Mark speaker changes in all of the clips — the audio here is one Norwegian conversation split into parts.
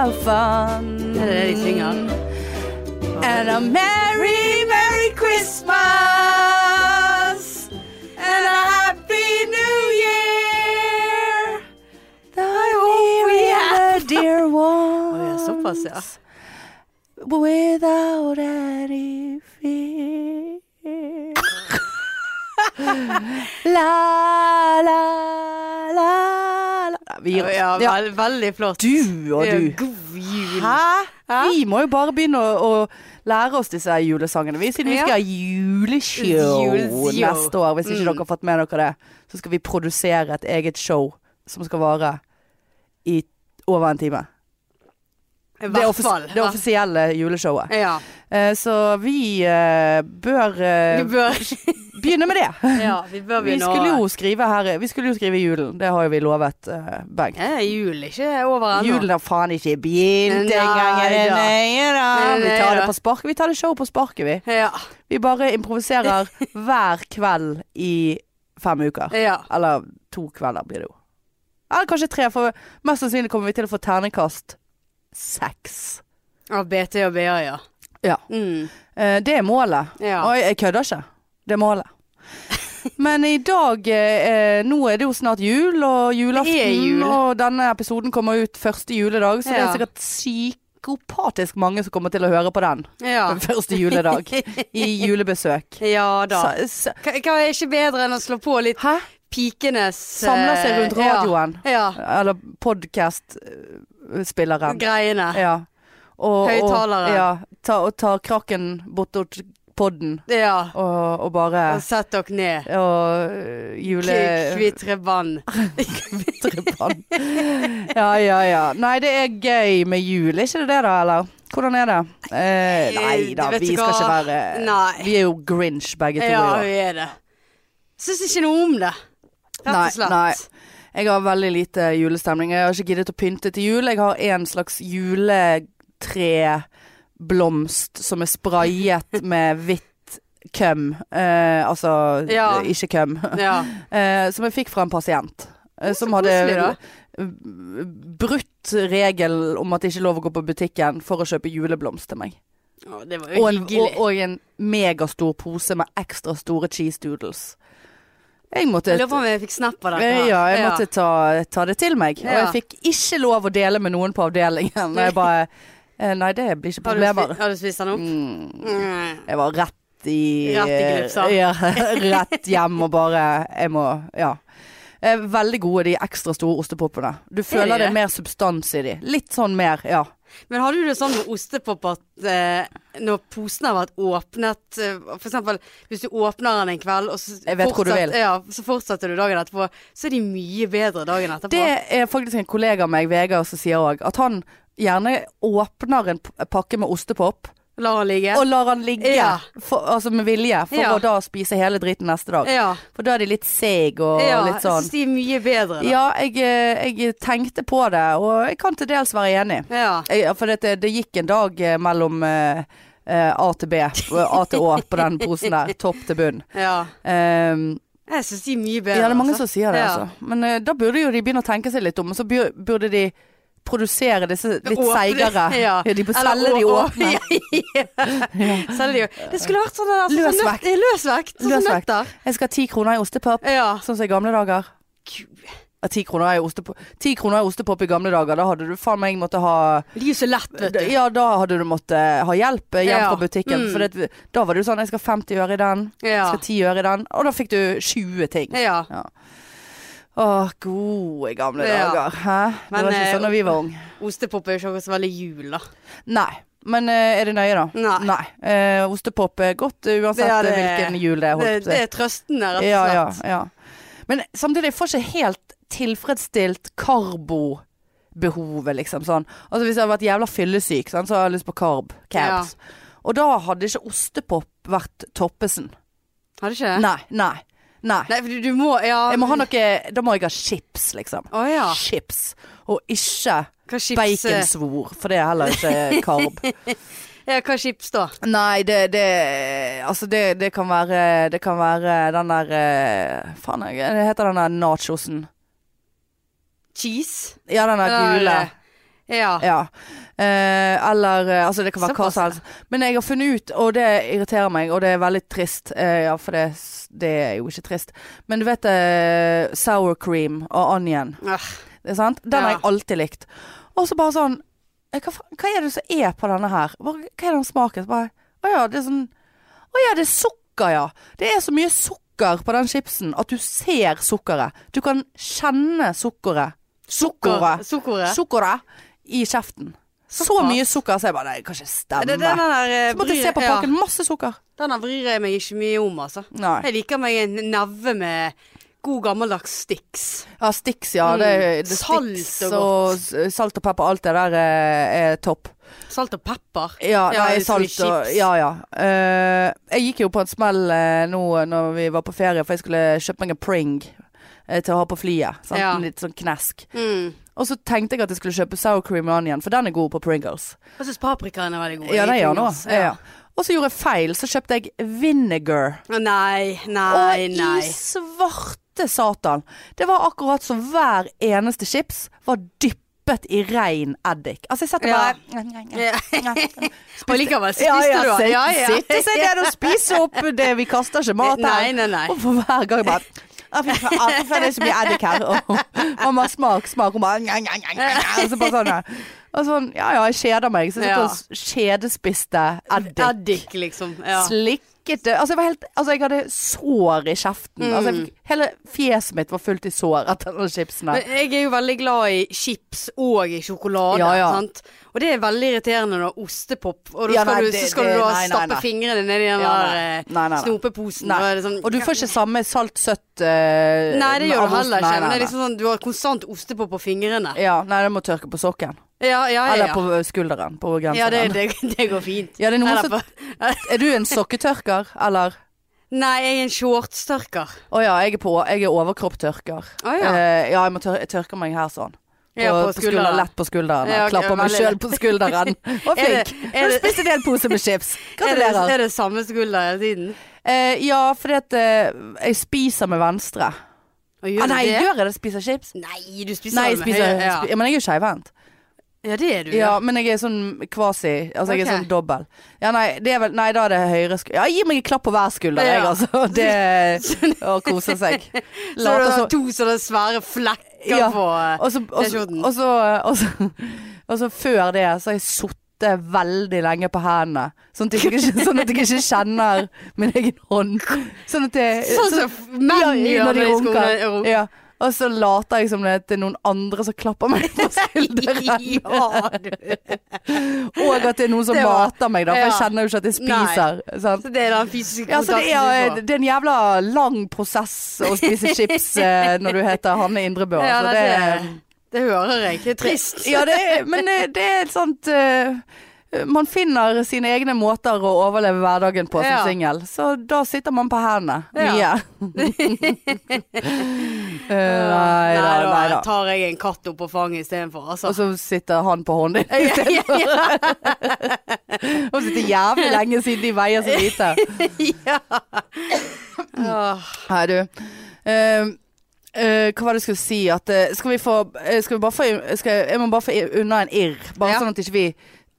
Speaker 1: sofaen.
Speaker 2: Det er det de synger.
Speaker 1: And a merry, merry Christmas And a happy new year I hope we had a dear
Speaker 2: Å, ja,
Speaker 1: one
Speaker 2: er Såpass, ja.
Speaker 1: Without any fear La, la, la, la Vi gir oss
Speaker 2: Ja,
Speaker 1: Ja,
Speaker 2: vel- veldig flott.
Speaker 1: Du og
Speaker 2: Ja,
Speaker 1: du
Speaker 2: God jul.
Speaker 1: Hæ?
Speaker 2: Hæ?
Speaker 1: Vi må jo bare begynne å, å lære oss disse julesangene, vi, siden vi
Speaker 2: Ja.
Speaker 1: skal ha juleshow
Speaker 2: Juleshow.
Speaker 1: neste år. Hvis ikke
Speaker 2: Mm.
Speaker 1: dere har fått med dere det, så skal vi produsere et eget show som skal vare i over en time.
Speaker 2: I
Speaker 1: Det,
Speaker 2: hvert
Speaker 1: offis
Speaker 2: fall.
Speaker 1: det offisielle juleshowet.
Speaker 2: Ja.
Speaker 1: Eh, så vi eh, bør eh,
Speaker 2: Vi bør,
Speaker 1: begynne med det.
Speaker 2: ja, vi
Speaker 1: Vi
Speaker 2: bør begynne å-
Speaker 1: skulle jo skrive her Vi skulle jo skrive julen, det har jo vi lovet eh, begge.
Speaker 2: Ja, jul er ikke over ennå.
Speaker 1: Julen har faen ikke begynt
Speaker 2: Nei
Speaker 1: engang. er det?
Speaker 2: da.
Speaker 1: Nei da. Vi
Speaker 2: Nei
Speaker 1: tar det
Speaker 2: da.
Speaker 1: på sparket. Vi tar det show på sparket, vi.
Speaker 2: Ja.
Speaker 1: Vi bare improviserer hver kveld i fem uker.
Speaker 2: ja.
Speaker 1: Eller to kvelder blir det jo. Eller kanskje tre, for mest sannsynlig kommer vi til å få ternekast seks.
Speaker 2: Av BT og BA, ja.
Speaker 1: Ja.
Speaker 2: Mm.
Speaker 1: Eh, Det er målet.
Speaker 2: Ja.
Speaker 1: Og jeg- jeg kødder ikke. Det er målet. Men i dag eh, eh, Nå er det jo snart jul og julaften.
Speaker 2: Det er jul.
Speaker 1: Og denne episoden kommer ut første juledag, så det er
Speaker 2: Ja.
Speaker 1: sikkert psykopatisk mange som kommer til å høre på den
Speaker 2: ja.
Speaker 1: første juledag. I julebesøk.
Speaker 2: Ja da.
Speaker 1: Sa- sa-
Speaker 2: Hva hva er ikke bedre enn å slå på litt
Speaker 1: Hæ?
Speaker 2: pikenes
Speaker 1: Samler seg
Speaker 2: eh,
Speaker 1: rundt radioen.
Speaker 2: Ja.
Speaker 1: Eller
Speaker 2: ja.
Speaker 1: podkast-spilleren.
Speaker 2: Greiene.
Speaker 1: Ja. Og, og-
Speaker 2: Høyttaleren.
Speaker 1: Ja, ta, og tar krakken bortåt podden
Speaker 2: Ja.
Speaker 1: og, og bare
Speaker 2: Og sett dere ned.
Speaker 1: Og eh, jule...
Speaker 2: Kvitre vann.
Speaker 1: Kvitrepann. Ja, ja, ja. Nei, det er gøy med jul, er ikke det det da, eller? Hvordan er det? Eh, nei da,
Speaker 2: Eh, vet
Speaker 1: vi
Speaker 2: du
Speaker 1: skal
Speaker 2: hva?
Speaker 1: ikke være
Speaker 2: Nei.
Speaker 1: Vi er jo grinch begge to.
Speaker 2: Ja,
Speaker 1: i år.
Speaker 2: vi er det. Syns ikke noe om det. Rett
Speaker 1: Nei,
Speaker 2: og slett.
Speaker 1: nei. Jeg har veldig lite julestemning. Jeg har ikke giddet å pynte til jul. Jeg har en slags juletreblomst som er sprayet med hvitt køm. Eh, altså
Speaker 2: Ja.
Speaker 1: ikke køm.
Speaker 2: Ja.
Speaker 1: Eh, som jeg fikk fra en pasient. Eh, som hadde
Speaker 2: koselig,
Speaker 1: brutt regelen om at det ikke er lov å gå på butikken for å kjøpe juleblomst til meg.
Speaker 2: Å, det var jo
Speaker 1: Og en,
Speaker 2: hyggelig.
Speaker 1: og, og en megastor pose med ekstra store cheese doodles. Jeg måtte
Speaker 2: jeg lurer på om jeg fikk snap av dette.
Speaker 1: Eh,
Speaker 2: her.
Speaker 1: Ja, jeg måtte ta, ta det til meg. Og
Speaker 2: Ja.
Speaker 1: jeg fikk ikke lov å dele med noen på avdelingen. Og jeg bare eh, Nei, det blir ikke
Speaker 2: Har du,
Speaker 1: problemer.
Speaker 2: spi- har du spist den opp?
Speaker 1: Mm,
Speaker 2: Mm.
Speaker 1: jeg var rett i eh,
Speaker 2: Rett i glipsa.
Speaker 1: Ja, rett hjem og bare Jeg må Ja. Eh, Veldig gode de ekstra store ostepopene. Du føler det
Speaker 2: det?
Speaker 1: er mer substans i de. Litt sånn mer, ja.
Speaker 2: Men hadde du det sånn med ostepop at eh, når posen har vært åpnet eh, For eksempel hvis du åpner den en kveld, og så,
Speaker 1: Jeg vet hvor du vil.
Speaker 2: Ja, så fortsetter du dagen etterpå, så er de mye bedre dagen etterpå.
Speaker 1: Det er faktisk en kollega av meg, Vegard, som sier òg at han gjerne åpner en p- pakke med ostepop.
Speaker 2: Lar den ligge.
Speaker 1: Og lar han ligge,
Speaker 2: Ja.
Speaker 1: for, altså med vilje, for
Speaker 2: Ja.
Speaker 1: å da spise hele driten neste dag.
Speaker 2: ja.
Speaker 1: For da er de litt seig og
Speaker 2: ja
Speaker 1: litt sånn.
Speaker 2: Jeg syns de er mye bedre. Da.
Speaker 1: Ja, jeg, eh, jeg tenkte på det, og jeg kan til dels være enig.
Speaker 2: Ja.
Speaker 1: Jeg- For det, det gikk en dag eh, mellom eh, eh, A til B, og A til Å på den posen der. Topp til bunn.
Speaker 2: ja.
Speaker 1: Um,
Speaker 2: Jeg syns de er mye bedre.
Speaker 1: ja, det er mange
Speaker 2: altså.
Speaker 1: som sier det,
Speaker 2: Ja.
Speaker 1: altså. Men eh, da burde jo de begynne å tenke seg litt om, og så bur- burde de produsere disse litt
Speaker 2: Åpne-
Speaker 1: seigere. Ja.
Speaker 2: Ja.
Speaker 1: de bør
Speaker 2: Eller
Speaker 1: selge de
Speaker 2: å- å-
Speaker 1: åpne.
Speaker 2: Ja. Selge de åpne. Det skulle vært sånn der, altså, sånn
Speaker 1: Løsvekt.
Speaker 2: nøtt- Løsvekt. Sånn som
Speaker 1: Løsvekt.
Speaker 2: nøtter.
Speaker 1: Jeg skal ha ti kroner i ostepop,
Speaker 2: Ja.
Speaker 1: sånn som i gamle dager. Ja, 10 kroner i ostepop, 10 kroner i, ostepop i gamle dager, da hadde du faen meg måtte ha
Speaker 2: De er jo så lett, vet du.
Speaker 1: Ja, da hadde du måtte ha hjelp eh, hjem
Speaker 2: Ja.
Speaker 1: fra butikken.
Speaker 2: Mm.
Speaker 1: For det, da var det jo sånn Jeg skal 50 øre i den, jeg
Speaker 2: Ja.
Speaker 1: skal 10 øre i den. Og da fikk du 20 ting.
Speaker 2: ja.
Speaker 1: Å, gode gamle
Speaker 2: Ja.
Speaker 1: dager. Hæ? det
Speaker 2: Men,
Speaker 1: var ikke
Speaker 2: eh,
Speaker 1: sånn da vi var unge.
Speaker 2: Ostepop er jo ikke akkurat så veldig jul, da.
Speaker 1: Nei. Men eh, er det nøye, da?
Speaker 2: Nei.
Speaker 1: Eh, ostepop er godt eh, uansett
Speaker 2: Ja, det-
Speaker 1: hvilken jul det er. holdt
Speaker 2: Det,
Speaker 1: på å si.
Speaker 2: det er trøstende, rett og slett.
Speaker 1: Ja, ja, ja. Men samtidig, jeg får ikke helt tilfredsstilt karbobehovet, liksom. Sånn. Altså Hvis jeg hadde vært jævla fyllesyk, sant, så hadde jeg lyst på karb. Cabs. Og da hadde ikke ostepop vært toppesen.
Speaker 2: Har du ikke det?
Speaker 1: Nei, nei. nei.
Speaker 2: Nei, for du, du må Ja.
Speaker 1: Jeg må ha noe Da må jeg ha chips, liksom.
Speaker 2: Å ja.
Speaker 1: Chips. Og ikke
Speaker 2: Hva chips, eh,
Speaker 1: baconsvor, for det er heller ikke karb.
Speaker 2: ja, hva chips da?
Speaker 1: Nei, det, det Altså, det, det kan være Det kan være den der eh, Faen, jeg- det heter den der nachosen.
Speaker 2: Cheese?
Speaker 1: Ja, den der
Speaker 2: Eller,
Speaker 1: gule.
Speaker 2: eh, Ja.
Speaker 1: Ja. Eh, eller eh, Altså, det kan være hva
Speaker 2: Såpass,
Speaker 1: som helst. Men jeg har funnet ut, og det irriterer meg, og det er veldig trist. eh, ja, for det, det er jo ikke trist. Men du vet eh, sour cream og onion.
Speaker 2: Øh,
Speaker 1: Det er sant? Den har
Speaker 2: Ja.
Speaker 1: jeg alltid likt. Og så bare sånn eh, hva, fa- hva er det som er på denne her? Hva, hva er den smaken? Så bare, å ja, det er sånn Å ja, det er sukker, ja. Det er så mye sukker på den chipsen at du ser sukkeret. Du kan kjenne sukkeret. Sukkeret.
Speaker 2: Sukkoret.
Speaker 1: Sukkeret i kjeften. Så
Speaker 2: Såpass.
Speaker 1: mye sukker, så jeg bare Nei, det kan ikke
Speaker 2: Ja, det,
Speaker 1: stemme.
Speaker 2: den der, eh,
Speaker 1: så måtte jeg
Speaker 2: bryr-
Speaker 1: se på
Speaker 2: ja,
Speaker 1: pakken. Masse sukker.
Speaker 2: Den der bryr jeg meg ikke mye om, altså.
Speaker 1: Nei.
Speaker 2: Jeg liker meg en neve med god gammeldags Stix.
Speaker 1: Ja, Stix, ja. Det,
Speaker 2: Mm.
Speaker 1: det
Speaker 2: Salt
Speaker 1: Stix
Speaker 2: og
Speaker 1: og s- salt og pepper, alt det der eh, er topp.
Speaker 2: Salt og pepper.
Speaker 1: Ja,
Speaker 2: Ja,
Speaker 1: nei,
Speaker 2: det er så mye
Speaker 1: salt og
Speaker 2: chips.
Speaker 1: Ja, ja. Eh, jeg gikk jo på en smell eh, nå når vi var på ferie, for jeg skulle kjøpe meg en pring eh, til å ha på flyet. Sant?
Speaker 2: Ja.
Speaker 1: En Litt sånn knesk.
Speaker 2: Mm.
Speaker 1: Og så tenkte jeg at jeg skulle kjøpe sour cream og onion, for den er god på Pringles.
Speaker 2: Jeg syns paprikaen er veldig god.
Speaker 1: Ja, det
Speaker 2: Jeg liker
Speaker 1: gjør
Speaker 2: den
Speaker 1: nå.
Speaker 2: også.
Speaker 1: Ja. Og så gjorde jeg feil, så kjøpte jeg vinegar.
Speaker 2: Nei, nei,
Speaker 1: og
Speaker 2: nei.
Speaker 1: i svarte satan. Det var akkurat som hver eneste chips var dyppet i rein eddik. Altså, jeg setter
Speaker 2: Ja.
Speaker 1: bare
Speaker 2: Ja. Og likevel spiste
Speaker 1: Ja, ja,
Speaker 2: du den.
Speaker 1: sitt, sitte seg ned og spise opp det. Vi kaster ikke mat her.
Speaker 2: Nei, nei, nei.
Speaker 1: Og for hver gang bare «Å, Fy faen, å, fy faen, det er så mye eddik her. Og mamma, smak, smak. Hun bare «Nja, nja, nja, nja, nja», Og så bare sånn. ja. Og sånn, ja ja, jeg kjeder meg. Så jeg
Speaker 2: Ja.
Speaker 1: satt og kjedespiste eddik.
Speaker 2: Eddik, liksom. Ja.
Speaker 1: Slikket det. Altså, jeg var helt, altså, jeg hadde sår i kjeften. Altså,
Speaker 2: Mm.
Speaker 1: jeg, fikk- hele fjeset mitt var fullt i sår etter de chipsene.
Speaker 2: Men Jeg er jo veldig glad i chips og i sjokolade.
Speaker 1: Ja, ja.
Speaker 2: Sant? Og det er veldig irriterende når ostepop Og da skal,
Speaker 1: Ja, nei,
Speaker 2: du,
Speaker 1: det-
Speaker 2: så skal
Speaker 1: det-
Speaker 2: du da
Speaker 1: nei, nei,
Speaker 2: stappe
Speaker 1: nei.
Speaker 2: fingrene ned i den
Speaker 1: Ja,
Speaker 2: der
Speaker 1: nei.
Speaker 2: eh,
Speaker 1: Nei, nei, nei.
Speaker 2: snopeposen.
Speaker 1: Nei.
Speaker 2: Da er det sånn,
Speaker 1: Og du får ikke samme salt-søtt eh,
Speaker 2: Nei, det gjør
Speaker 1: av osten.
Speaker 2: du heller
Speaker 1: Nei, nei,
Speaker 2: ikke. Men det er
Speaker 1: nei.
Speaker 2: liksom sånn, du har konstant ostepop på fingrene.
Speaker 1: Ja, nei, det må tørke på sokken.
Speaker 2: Ja, Ah, ja, ja.
Speaker 1: Eller
Speaker 2: ja.
Speaker 1: på skulderen. På genseren.
Speaker 2: Ja, det, det, det går fint.
Speaker 1: Ja, det er noen
Speaker 2: Eller
Speaker 1: som-
Speaker 2: på-
Speaker 1: Er du en sokketørker, eller?
Speaker 2: Nei, jeg er en shortstørker.
Speaker 1: Å ja, jeg er, på, jeg er overkropptørker.
Speaker 2: Å Ah, ja.
Speaker 1: Eh, ja, jeg må tør jeg tørker meg her sånn. På,
Speaker 2: Ja, på
Speaker 1: på skulderen.
Speaker 2: skulderen.
Speaker 1: Lett på skulderen.
Speaker 2: Ja, ok,
Speaker 1: Klapper meg
Speaker 2: veldig
Speaker 1: sjøl på skulderen. Og
Speaker 2: Er det-
Speaker 1: flink.
Speaker 2: er
Speaker 1: Nå
Speaker 2: det-
Speaker 1: spiste jeg en pose med chips.
Speaker 2: Er det,
Speaker 1: Gratulerer.
Speaker 2: er det samme skulder hele tiden?
Speaker 1: Eh, ja, fordi at eh, jeg spiser med venstre.
Speaker 2: Og gjør
Speaker 1: ah, nei,
Speaker 2: du det?
Speaker 1: gjør jeg det? Spiser jeg chips?
Speaker 2: Nei, du spiser
Speaker 1: Nei, jeg
Speaker 2: med
Speaker 1: spiser
Speaker 2: høyre-
Speaker 1: ja.
Speaker 2: ja.
Speaker 1: ja, Men jeg er jo skeivhendt.
Speaker 2: ja, det er du.
Speaker 1: Ja, men jeg er sånn kvasi. Altså, jeg er
Speaker 2: Ok.
Speaker 1: sånn dobbel. Ja, nei, det er vel Nei, da er det høyre skulder. Ja, gi meg en klapp på hver skulder, jeg,
Speaker 2: Ja.
Speaker 1: altså. Det Å kose seg.
Speaker 2: Så du
Speaker 1: Later
Speaker 2: har
Speaker 1: som
Speaker 2: to sånne svære flekker
Speaker 1: Ja,
Speaker 2: på eh,
Speaker 1: Og så, og, så,
Speaker 2: T-skjorten.
Speaker 1: og, så, eh, og, så, og så før det så har jeg sittet veldig lenge på hendene. Sånn at jeg ikke, sånn at jeg ikke kjenner min egen hånd. Sånn at jeg
Speaker 2: Sånn som f- menn
Speaker 1: ja,
Speaker 2: gjør eh,
Speaker 1: når de
Speaker 2: når de
Speaker 1: runker.
Speaker 2: skal runke.
Speaker 1: Ja. Og så later jeg som det er noen andre som klapper meg på skulderen.
Speaker 2: Ja, du.
Speaker 1: Og at det er noen som
Speaker 2: Det var-
Speaker 1: mater meg, da. For jeg
Speaker 2: ja.
Speaker 1: kjenner jo ikke at jeg spiser. Sant?
Speaker 2: Så det er den fysiske
Speaker 1: Ja, så det er, eh,
Speaker 2: kontakten du får.
Speaker 1: det er en jævla lang prosess å spise chips eh, når du heter Hanne Indrebø.
Speaker 2: Ja,
Speaker 1: altså.
Speaker 2: det,
Speaker 1: det,
Speaker 2: det hører jeg. Det er trist.
Speaker 1: Ja, det er, men det, det er et sånt eh, Man finner sine egne måter å overleve hverdagen på som
Speaker 2: Ja.
Speaker 1: singel. Så da sitter man på hendene mye.
Speaker 2: Ja.
Speaker 1: Eh, nei da, nei da.
Speaker 2: tar jeg en katt opp på fanget istedenfor, altså.
Speaker 1: Og så sitter han på hånden din.
Speaker 2: Ja, ja,
Speaker 1: Og sitter jævlig lenge siden de veier så lite.
Speaker 2: ja. Åh.
Speaker 1: Nei, du. Eh, eh, hva var det jeg skulle si? At, eh, skal vi få eh, Skal vi bare få skal jeg, jeg må bare få i- unna en irr. Bare
Speaker 2: Ja.
Speaker 1: sånn at ikke vi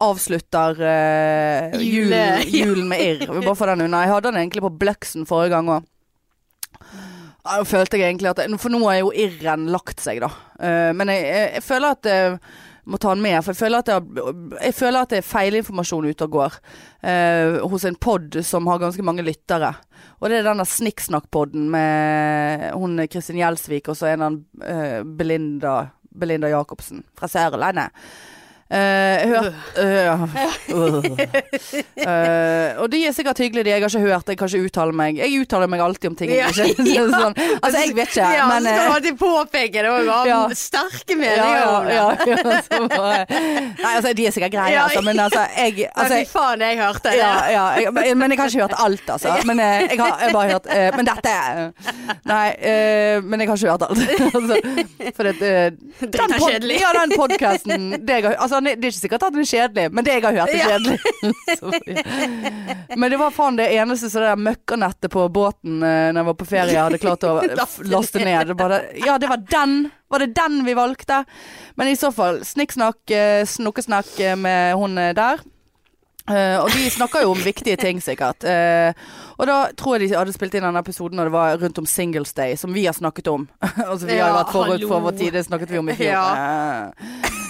Speaker 1: avslutter eh,
Speaker 2: Jule-
Speaker 1: julen, julen med irr. Vi bare får den unna. Jeg hadde den egentlig på Bløksen forrige gang òg. Da følte jeg egentlig at For nå har jo irren lagt seg, da. Eh, men jeg, jeg, jeg føler at jeg må ta den med, for jeg føler at, jeg, har- jeg føler at det er feilinformasjon ute og går eh, hos en pod som har ganske mange lyttere. Og det er den der Snikksnakk-podden med hun Kristin Gjelsvik og så en av eh, Belinda, Belinda Jacobsen fra Sørlandet. Eh, jeg hørte øh. Eh, Og de er sikkert hyggelige, de. Jeg har ikke hørt, jeg kan ikke uttale meg. Jeg uttaler meg alltid om ting jeg
Speaker 2: Ja,
Speaker 1: ikke
Speaker 2: ja.
Speaker 1: sånn, Altså, jeg vet ikke,
Speaker 2: ja,
Speaker 1: men
Speaker 2: så skal
Speaker 1: eh,
Speaker 2: du alltid påpeke det og ha
Speaker 1: Ja. ja,
Speaker 2: sterke meninger om
Speaker 1: ja,
Speaker 2: det.
Speaker 1: ja, så bare- Nei, altså, de er sikkert greie,
Speaker 2: Ja.
Speaker 1: altså, men altså, jeg
Speaker 2: Men
Speaker 1: altså,
Speaker 2: Fy faen, jeg hørte det.
Speaker 1: ja, ja, jeg, men men jeg har ikke hørt alt, altså. Men eh, jeg har jeg har bare hørt eh, Men dette er- Nei, eh, men jeg har ikke hørt alt. Altså, for det, eh, den
Speaker 2: Drita
Speaker 1: pod-
Speaker 2: kjedelig.
Speaker 1: Ja, den podkasten Altså, sånn, det er ikke sikkert at den er kjedelig, men det jeg har hørt er kjedelig. Så- men det var faen det eneste så det der møkkanettet på båten eh, når jeg var på ferie, jeg hadde klart å f- laste ned. Det bare, ja, det var den. Var det den vi valgte? Men i så fall, snikksnakk, eh, snukkesnakk eh, med hun eh, der. Eh, og de snakker jo om viktige ting, sikkert. Eh, og da tror jeg de hadde spilt inn denne episoden når det var rundt om Singles Day, som vi har snakket om. altså vi har jo
Speaker 2: Ja,
Speaker 1: vært forut for
Speaker 2: hallo.
Speaker 1: vår tid, det snakket vi om i fjor.
Speaker 2: Ja.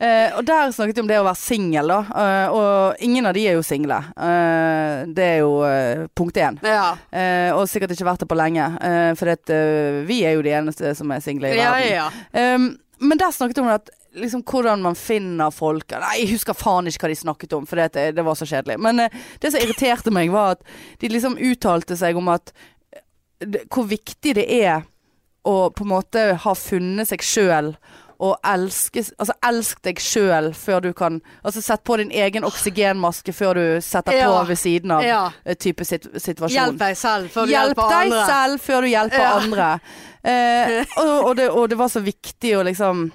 Speaker 1: Eh, og der snakket vi om det å være singel, da. Eh, og ingen av de er jo single. Eh, det er jo eh, punkt én.
Speaker 2: Ja.
Speaker 1: Eh, og sikkert ikke vært det på lenge, eh, for det, eh, vi er jo de eneste som er single i
Speaker 2: Ja,
Speaker 1: verden.
Speaker 2: ja.
Speaker 1: Um, men der snakket hun om at liksom, hvordan man finner folk Nei, jeg husker faen ikke hva de snakket om, for det, det var så kjedelig. Men eh, det som irriterte meg, var at de liksom uttalte seg om at eh, det- Hvor viktig det er å på en måte ha funnet seg sjøl. Og elske, altså elsk deg sjøl før du kan Altså sett på din egen oksygenmaske før du setter på
Speaker 2: Ja.
Speaker 1: ved siden av
Speaker 2: Ja.
Speaker 1: eh, type sit situasjon.
Speaker 2: Hjelp deg selv før du
Speaker 1: Hjelp
Speaker 2: hjelper
Speaker 1: deg
Speaker 2: andre.
Speaker 1: selv før du hjelper
Speaker 2: Ja.
Speaker 1: andre. Eh, og, og, det, og det var så viktig å liksom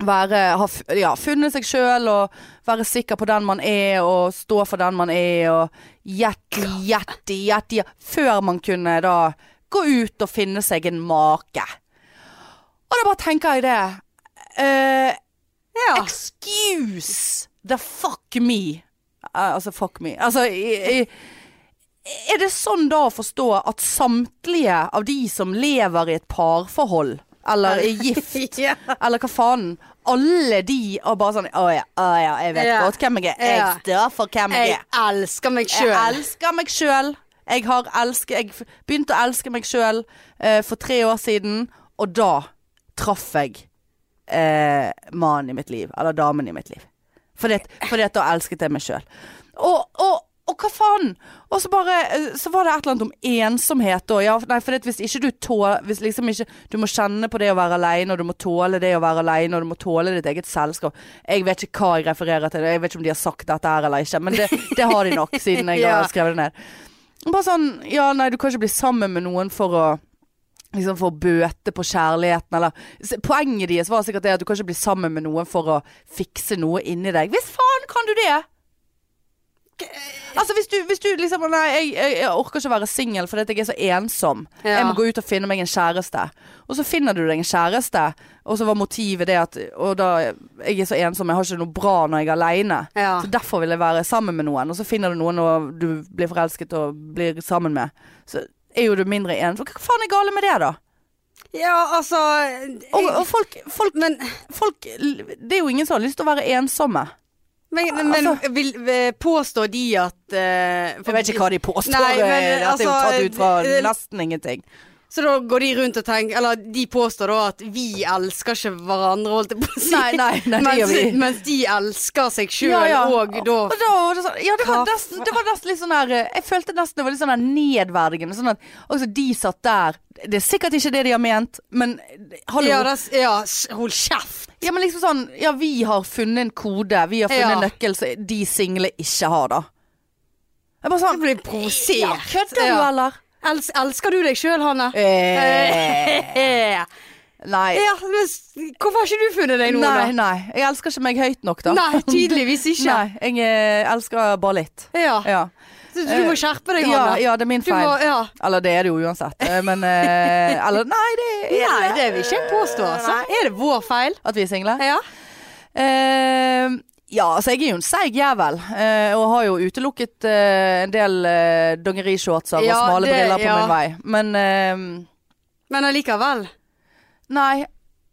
Speaker 1: være, ha f- ja, funnet seg sjøl og være sikker på den man er, og stå for den man er, og hjertelig, hjertelig, hjertelig Før man kunne da gå ut og finne seg en make. Og da bare tenker jeg det. Eh,
Speaker 2: Ja.
Speaker 1: Excuse the fuck me. Eh, altså fuck me. Altså i, i, Er det sånn da å forstå at samtlige av de som lever i et parforhold, eller er gift,
Speaker 2: Ja.
Speaker 1: eller hva faen Alle de er bare sånn Å ja, å ja jeg vet
Speaker 2: Ja.
Speaker 1: godt hvem jeg er. Jeg
Speaker 2: Ja.
Speaker 1: står for hvem jeg
Speaker 2: Jeg
Speaker 1: er.
Speaker 2: elsker meg
Speaker 1: Jeg
Speaker 2: sjøl.
Speaker 1: elsker meg sjøl. Jeg har elsket Jeg f- begynte å elske meg sjøl eh, for tre år siden, og da traff jeg eh, mannen i mitt liv. Eller damen i mitt liv. Fordi at, fordi at da elsket jeg meg sjøl. Og, og, og hva faen? Og så bare eh, Så var det et eller annet om ensomhet da. Ja, nei, for hvis ikke du tåler Hvis liksom ikke Du må kjenne på det å være aleine, og du må tåle det å være aleine, og du må tåle ditt eget selskap. Jeg vet ikke hva jeg refererer til, jeg vet ikke om de har sagt dette her eller ikke, men det, det har de nok, siden jeg
Speaker 2: Ja.
Speaker 1: har skrevet det ned. Bare sånn Ja, nei, du kan ikke bli sammen med noen for å Liksom for å bøte på kjærligheten eller S- Poenget deres var sikkert det at du kan ikke bli sammen med noen for å fikse noe inni deg. Hvis faen kan du det! Altså hvis du, hvis du liksom Nei, jeg, jeg, jeg orker ikke å være singel fordi at jeg er så ensom.
Speaker 2: Ja.
Speaker 1: Jeg må gå ut og finne meg en kjæreste. Og så finner du deg en kjæreste, og så var motivet det at Og da Jeg er så ensom, jeg har ikke noe bra når jeg er aleine.
Speaker 2: Ja.
Speaker 1: Så derfor vil jeg være sammen med noen, og så finner du noen og du blir forelsket og blir sammen med. Så er jo du mindre en. Hva faen er gale med det, da?
Speaker 2: ja, altså
Speaker 1: Og,
Speaker 2: jeg,
Speaker 1: og folk, folk,
Speaker 2: Men,
Speaker 1: folk Det er jo ingen som har lyst til å være ensomme.
Speaker 2: men, men,
Speaker 1: Altså-
Speaker 2: vil, vil påstår de at eh, for-
Speaker 1: Jeg vet ikke hva de påstår.
Speaker 2: Nei, men,
Speaker 1: eh, Dette er jo
Speaker 2: altså,
Speaker 1: tatt ut fra
Speaker 2: det-
Speaker 1: nesten ingenting.
Speaker 2: Så da går de rundt og tenker Eller de påstår da at vi elsker ikke hverandre, holdt jeg på å si.
Speaker 1: Nei, nei, nei, det gjør vi.
Speaker 2: mens, mens de elsker seg sjøl og da
Speaker 1: Og da var det sånn, ja, det var,
Speaker 2: Hva
Speaker 1: nesten, det var nesten litt sånn her eh, Jeg følte nesten det var litt sånn her nedverdigende. Sånn at også de satt der Det er sikkert ikke det de har ment, men eh, hallo.
Speaker 2: ja,
Speaker 1: Ja,
Speaker 2: da, ja, s- hold kjeft.
Speaker 1: men liksom sånn Ja, vi har funnet en kode. Vi har funnet
Speaker 2: Ja.
Speaker 1: en nøkkel som de single ikke har, da. Jeg bare
Speaker 2: Jeg
Speaker 1: sånn
Speaker 2: blir provosert.
Speaker 1: ja, Kødder du,
Speaker 2: Ja.
Speaker 1: eller?
Speaker 2: Els, elsker du deg sjøl, Hanne?
Speaker 1: Eh,
Speaker 2: Eh.
Speaker 1: nei.
Speaker 2: Ja, men s- hvorfor har ikke du funnet deg noe,
Speaker 1: Nei,
Speaker 2: da?
Speaker 1: nei. Jeg elsker ikke meg høyt nok, da.
Speaker 2: Nei, tydeligvis ikke.
Speaker 1: Nei, jeg eh, elsker bare litt.
Speaker 2: Ja.
Speaker 1: Ja.
Speaker 2: Så du må skjerpe deg,
Speaker 1: Ja,
Speaker 2: Hanne.
Speaker 1: ja, det er min
Speaker 2: Du må,
Speaker 1: feil.
Speaker 2: ja.
Speaker 1: Eller det er det jo uansett. Eh, Men eh, Eller nei, det er
Speaker 2: Nei, det vil ikke jeg påstå, altså. Er det vår feil?
Speaker 1: At vi er single?
Speaker 2: Ja.
Speaker 1: Eh, ja, altså jeg er jo en seig jævel. eh, og har jo utelukket eh, en del uh, dongerishortser og
Speaker 2: Ja,
Speaker 1: smale
Speaker 2: det-
Speaker 1: briller på
Speaker 2: ja.
Speaker 1: min vei. Men eh,
Speaker 2: Men allikevel.
Speaker 1: Nei.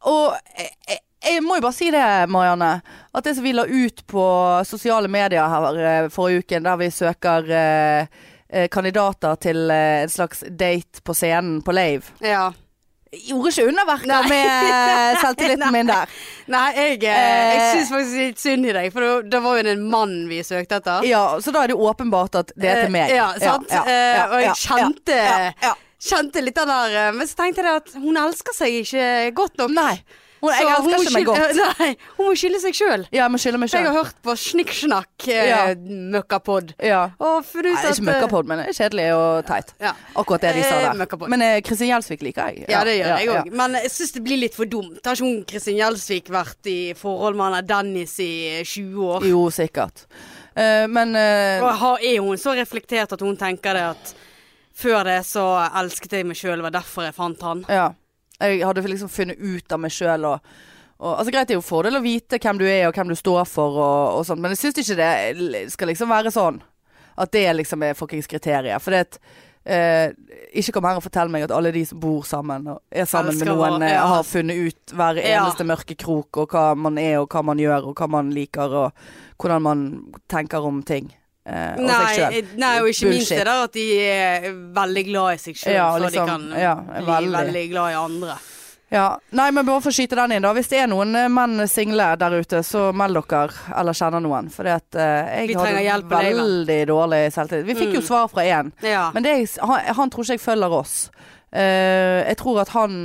Speaker 1: Og jeg, jeg, jeg må jo bare si det, Marianne. At det som vi la ut på sosiale medier her eh, forrige uken, der vi søker eh, eh, kandidater til eh, en slags date på scenen på Lave
Speaker 2: Ja.
Speaker 1: Gjorde ikke underverker
Speaker 2: Nei.
Speaker 1: med selvtilliten min der.
Speaker 2: Nei, jeg, eh, jeg syns faktisk litt synd i deg, for det- det var jo en mann vi søkte etter.
Speaker 1: Ja, så da er det jo åpenbart at det er til meg.
Speaker 2: Eh, Ja, sant?
Speaker 1: Ja, ja,
Speaker 2: Eh,
Speaker 1: ja,
Speaker 2: og
Speaker 1: ja,
Speaker 2: jeg kjente,
Speaker 1: ja, ja.
Speaker 2: kjente litt av den der eh, Men så tenkte jeg det at hun elsker seg ikke godt nok.
Speaker 1: Nei. Hun, jeg
Speaker 2: Så
Speaker 1: elsker
Speaker 2: må
Speaker 1: ikke meg
Speaker 2: skille-
Speaker 1: godt.
Speaker 2: Nei, hun må skille seg sjøl.
Speaker 1: Ja, jeg må skylde meg
Speaker 2: Jeg
Speaker 1: sjøl.
Speaker 2: har hørt på snikksnakk eh,
Speaker 1: Ja.
Speaker 2: møkkapod.
Speaker 1: Ja.
Speaker 2: Og funnet
Speaker 1: Nei, det er
Speaker 2: ut at eh,
Speaker 1: ikke møkkapod, men det er kjedelig og teit.
Speaker 2: Ja.
Speaker 1: Akkurat det de sa
Speaker 2: Eh,
Speaker 1: der.
Speaker 2: møkkapod.
Speaker 1: Men eh, Kristin Gjelsvik liker jeg.
Speaker 2: Ja, det gjør jeg
Speaker 1: ja,
Speaker 2: òg. Men jeg syns det blir litt for dumt. Har ikke hun Kristin Gjelsvik vært i forhold med han der Dennis i 20
Speaker 1: ja.
Speaker 2: år?
Speaker 1: Jo, sikkert. Eh, men eh,
Speaker 2: Og har- er hun så reflektert at hun tenker det at før det så elsket jeg meg sjøl, det var derfor jeg fant han.
Speaker 1: Ja. Jeg hadde liksom funnet ut av meg sjøl og, og Altså greit, det er jo fordel å vite hvem du er og hvem du står for og, og sånt, men jeg syns ikke det l- skal liksom være sånn. At det liksom er fuckings kriteriet. For det at eh, Ikke kom her og fortell meg at alle de som bor sammen og er sammen
Speaker 2: Elsker
Speaker 1: med noen,
Speaker 2: hverandre,
Speaker 1: eh,
Speaker 2: ja.
Speaker 1: har funnet ut hver
Speaker 2: Ja.
Speaker 1: eneste mørke krok og hva man er og hva man gjør og hva man liker og hvordan man tenker om ting. eh, og seg
Speaker 2: Nei,
Speaker 1: sjøl.
Speaker 2: eh, nei, og ikke minst
Speaker 1: Bullshit.
Speaker 2: det der at de er veldig glad i seg sjøl,
Speaker 1: Ja,
Speaker 2: så
Speaker 1: liksom,
Speaker 2: de kan
Speaker 1: ja,
Speaker 2: bli
Speaker 1: veldig.
Speaker 2: veldig. glad i andre.
Speaker 1: Ja, Nei, men bare for å skyte den inn, da. Hvis det er noen eh, menn single der ute, så meld dere, eller kjenner noen. For at eh,
Speaker 2: Vi
Speaker 1: jeg
Speaker 2: trenger
Speaker 1: hadde
Speaker 2: hjelp i
Speaker 1: veldig dårlig selvtillit. Vi fikk jo svar fra én,
Speaker 2: Mm. Ja.
Speaker 1: men det, er- han, han tror ikke jeg følger oss. Eh, jeg tror at han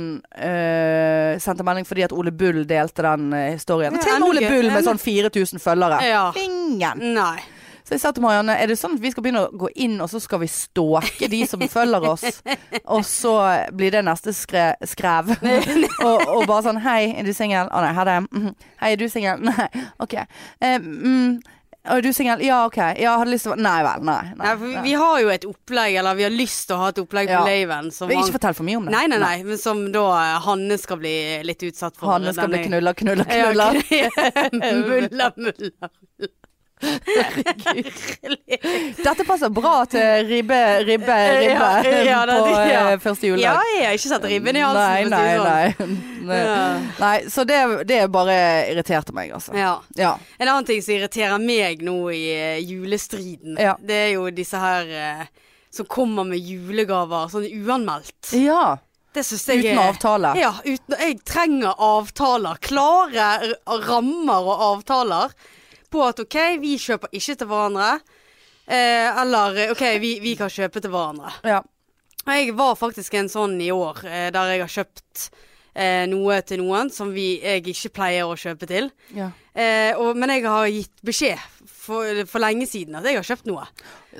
Speaker 1: eh, sendte melding fordi at Ole Bull delte den eh, historien.
Speaker 2: Ja,
Speaker 1: Til og med
Speaker 2: ennå
Speaker 1: Ole
Speaker 2: gøy.
Speaker 1: Bull med
Speaker 2: Ennå-
Speaker 1: sånn 4000 følgere.
Speaker 2: Ja.
Speaker 1: Ingen!
Speaker 2: Nei.
Speaker 1: Så jeg sa til Marianne, er det sånn at vi skal begynne å gå inn, og så skal vi stalke de som følger oss? Og så blir det neste skre skrev. og, og bare sånn, hei, er du singel? Å nei, ha det. Mhm. Hei, er du singel? Nei, ok. Eh, mm, er du singel? Ja, ok. Ja, hadde lyst til å Nei vel, nei. nei,
Speaker 2: nei for vi,
Speaker 1: nei.
Speaker 2: vi har jo et opplegg, eller vi har lyst til å ha et opplegg på
Speaker 1: Ja.
Speaker 2: Laven som
Speaker 1: Men
Speaker 2: han-
Speaker 1: Ikke fortell for mye om det.
Speaker 2: Nei, nei, nei, men som da eh, Hanne skal bli litt utsatt for.
Speaker 1: Hanne skal bli
Speaker 2: denne-
Speaker 1: knulla, knulla, knulla.
Speaker 2: mulla, mulla.
Speaker 1: Dette passer bra til ribbe, ribbe, ribbe
Speaker 2: Ja, ja, det-
Speaker 1: på eh,
Speaker 2: ja.
Speaker 1: første
Speaker 2: Ja,
Speaker 1: juledag.
Speaker 2: jeg har ikke sett ribben i halsen. for å si
Speaker 1: Nei,
Speaker 2: det
Speaker 1: nei,
Speaker 2: sånn.
Speaker 1: nei.
Speaker 2: Ja.
Speaker 1: Nei, så det, det bare irriterte meg, altså.
Speaker 2: Ja.
Speaker 1: Ja.
Speaker 2: En annen ting som irriterer meg nå i eh, julestriden,
Speaker 1: Ja.
Speaker 2: det er jo disse her eh, som kommer med julegaver sånn uanmeldt.
Speaker 1: ja.
Speaker 2: Det syns jeg
Speaker 1: Uten
Speaker 2: er-
Speaker 1: avtale.
Speaker 2: Ja, uten, jeg trenger avtaler. Klare r- rammer og avtaler på at OK, vi kjøper ikke til hverandre. Eh, eller OK, vi, vi kan kjøpe til hverandre.
Speaker 1: Ja.
Speaker 2: Og jeg var faktisk en sånn i år eh, der jeg har kjøpt eh, noe til noen som vi, jeg ikke pleier å kjøpe til.
Speaker 1: Ja.
Speaker 2: Eh, og, men jeg har gitt beskjed for, for lenge siden at jeg har kjøpt noe.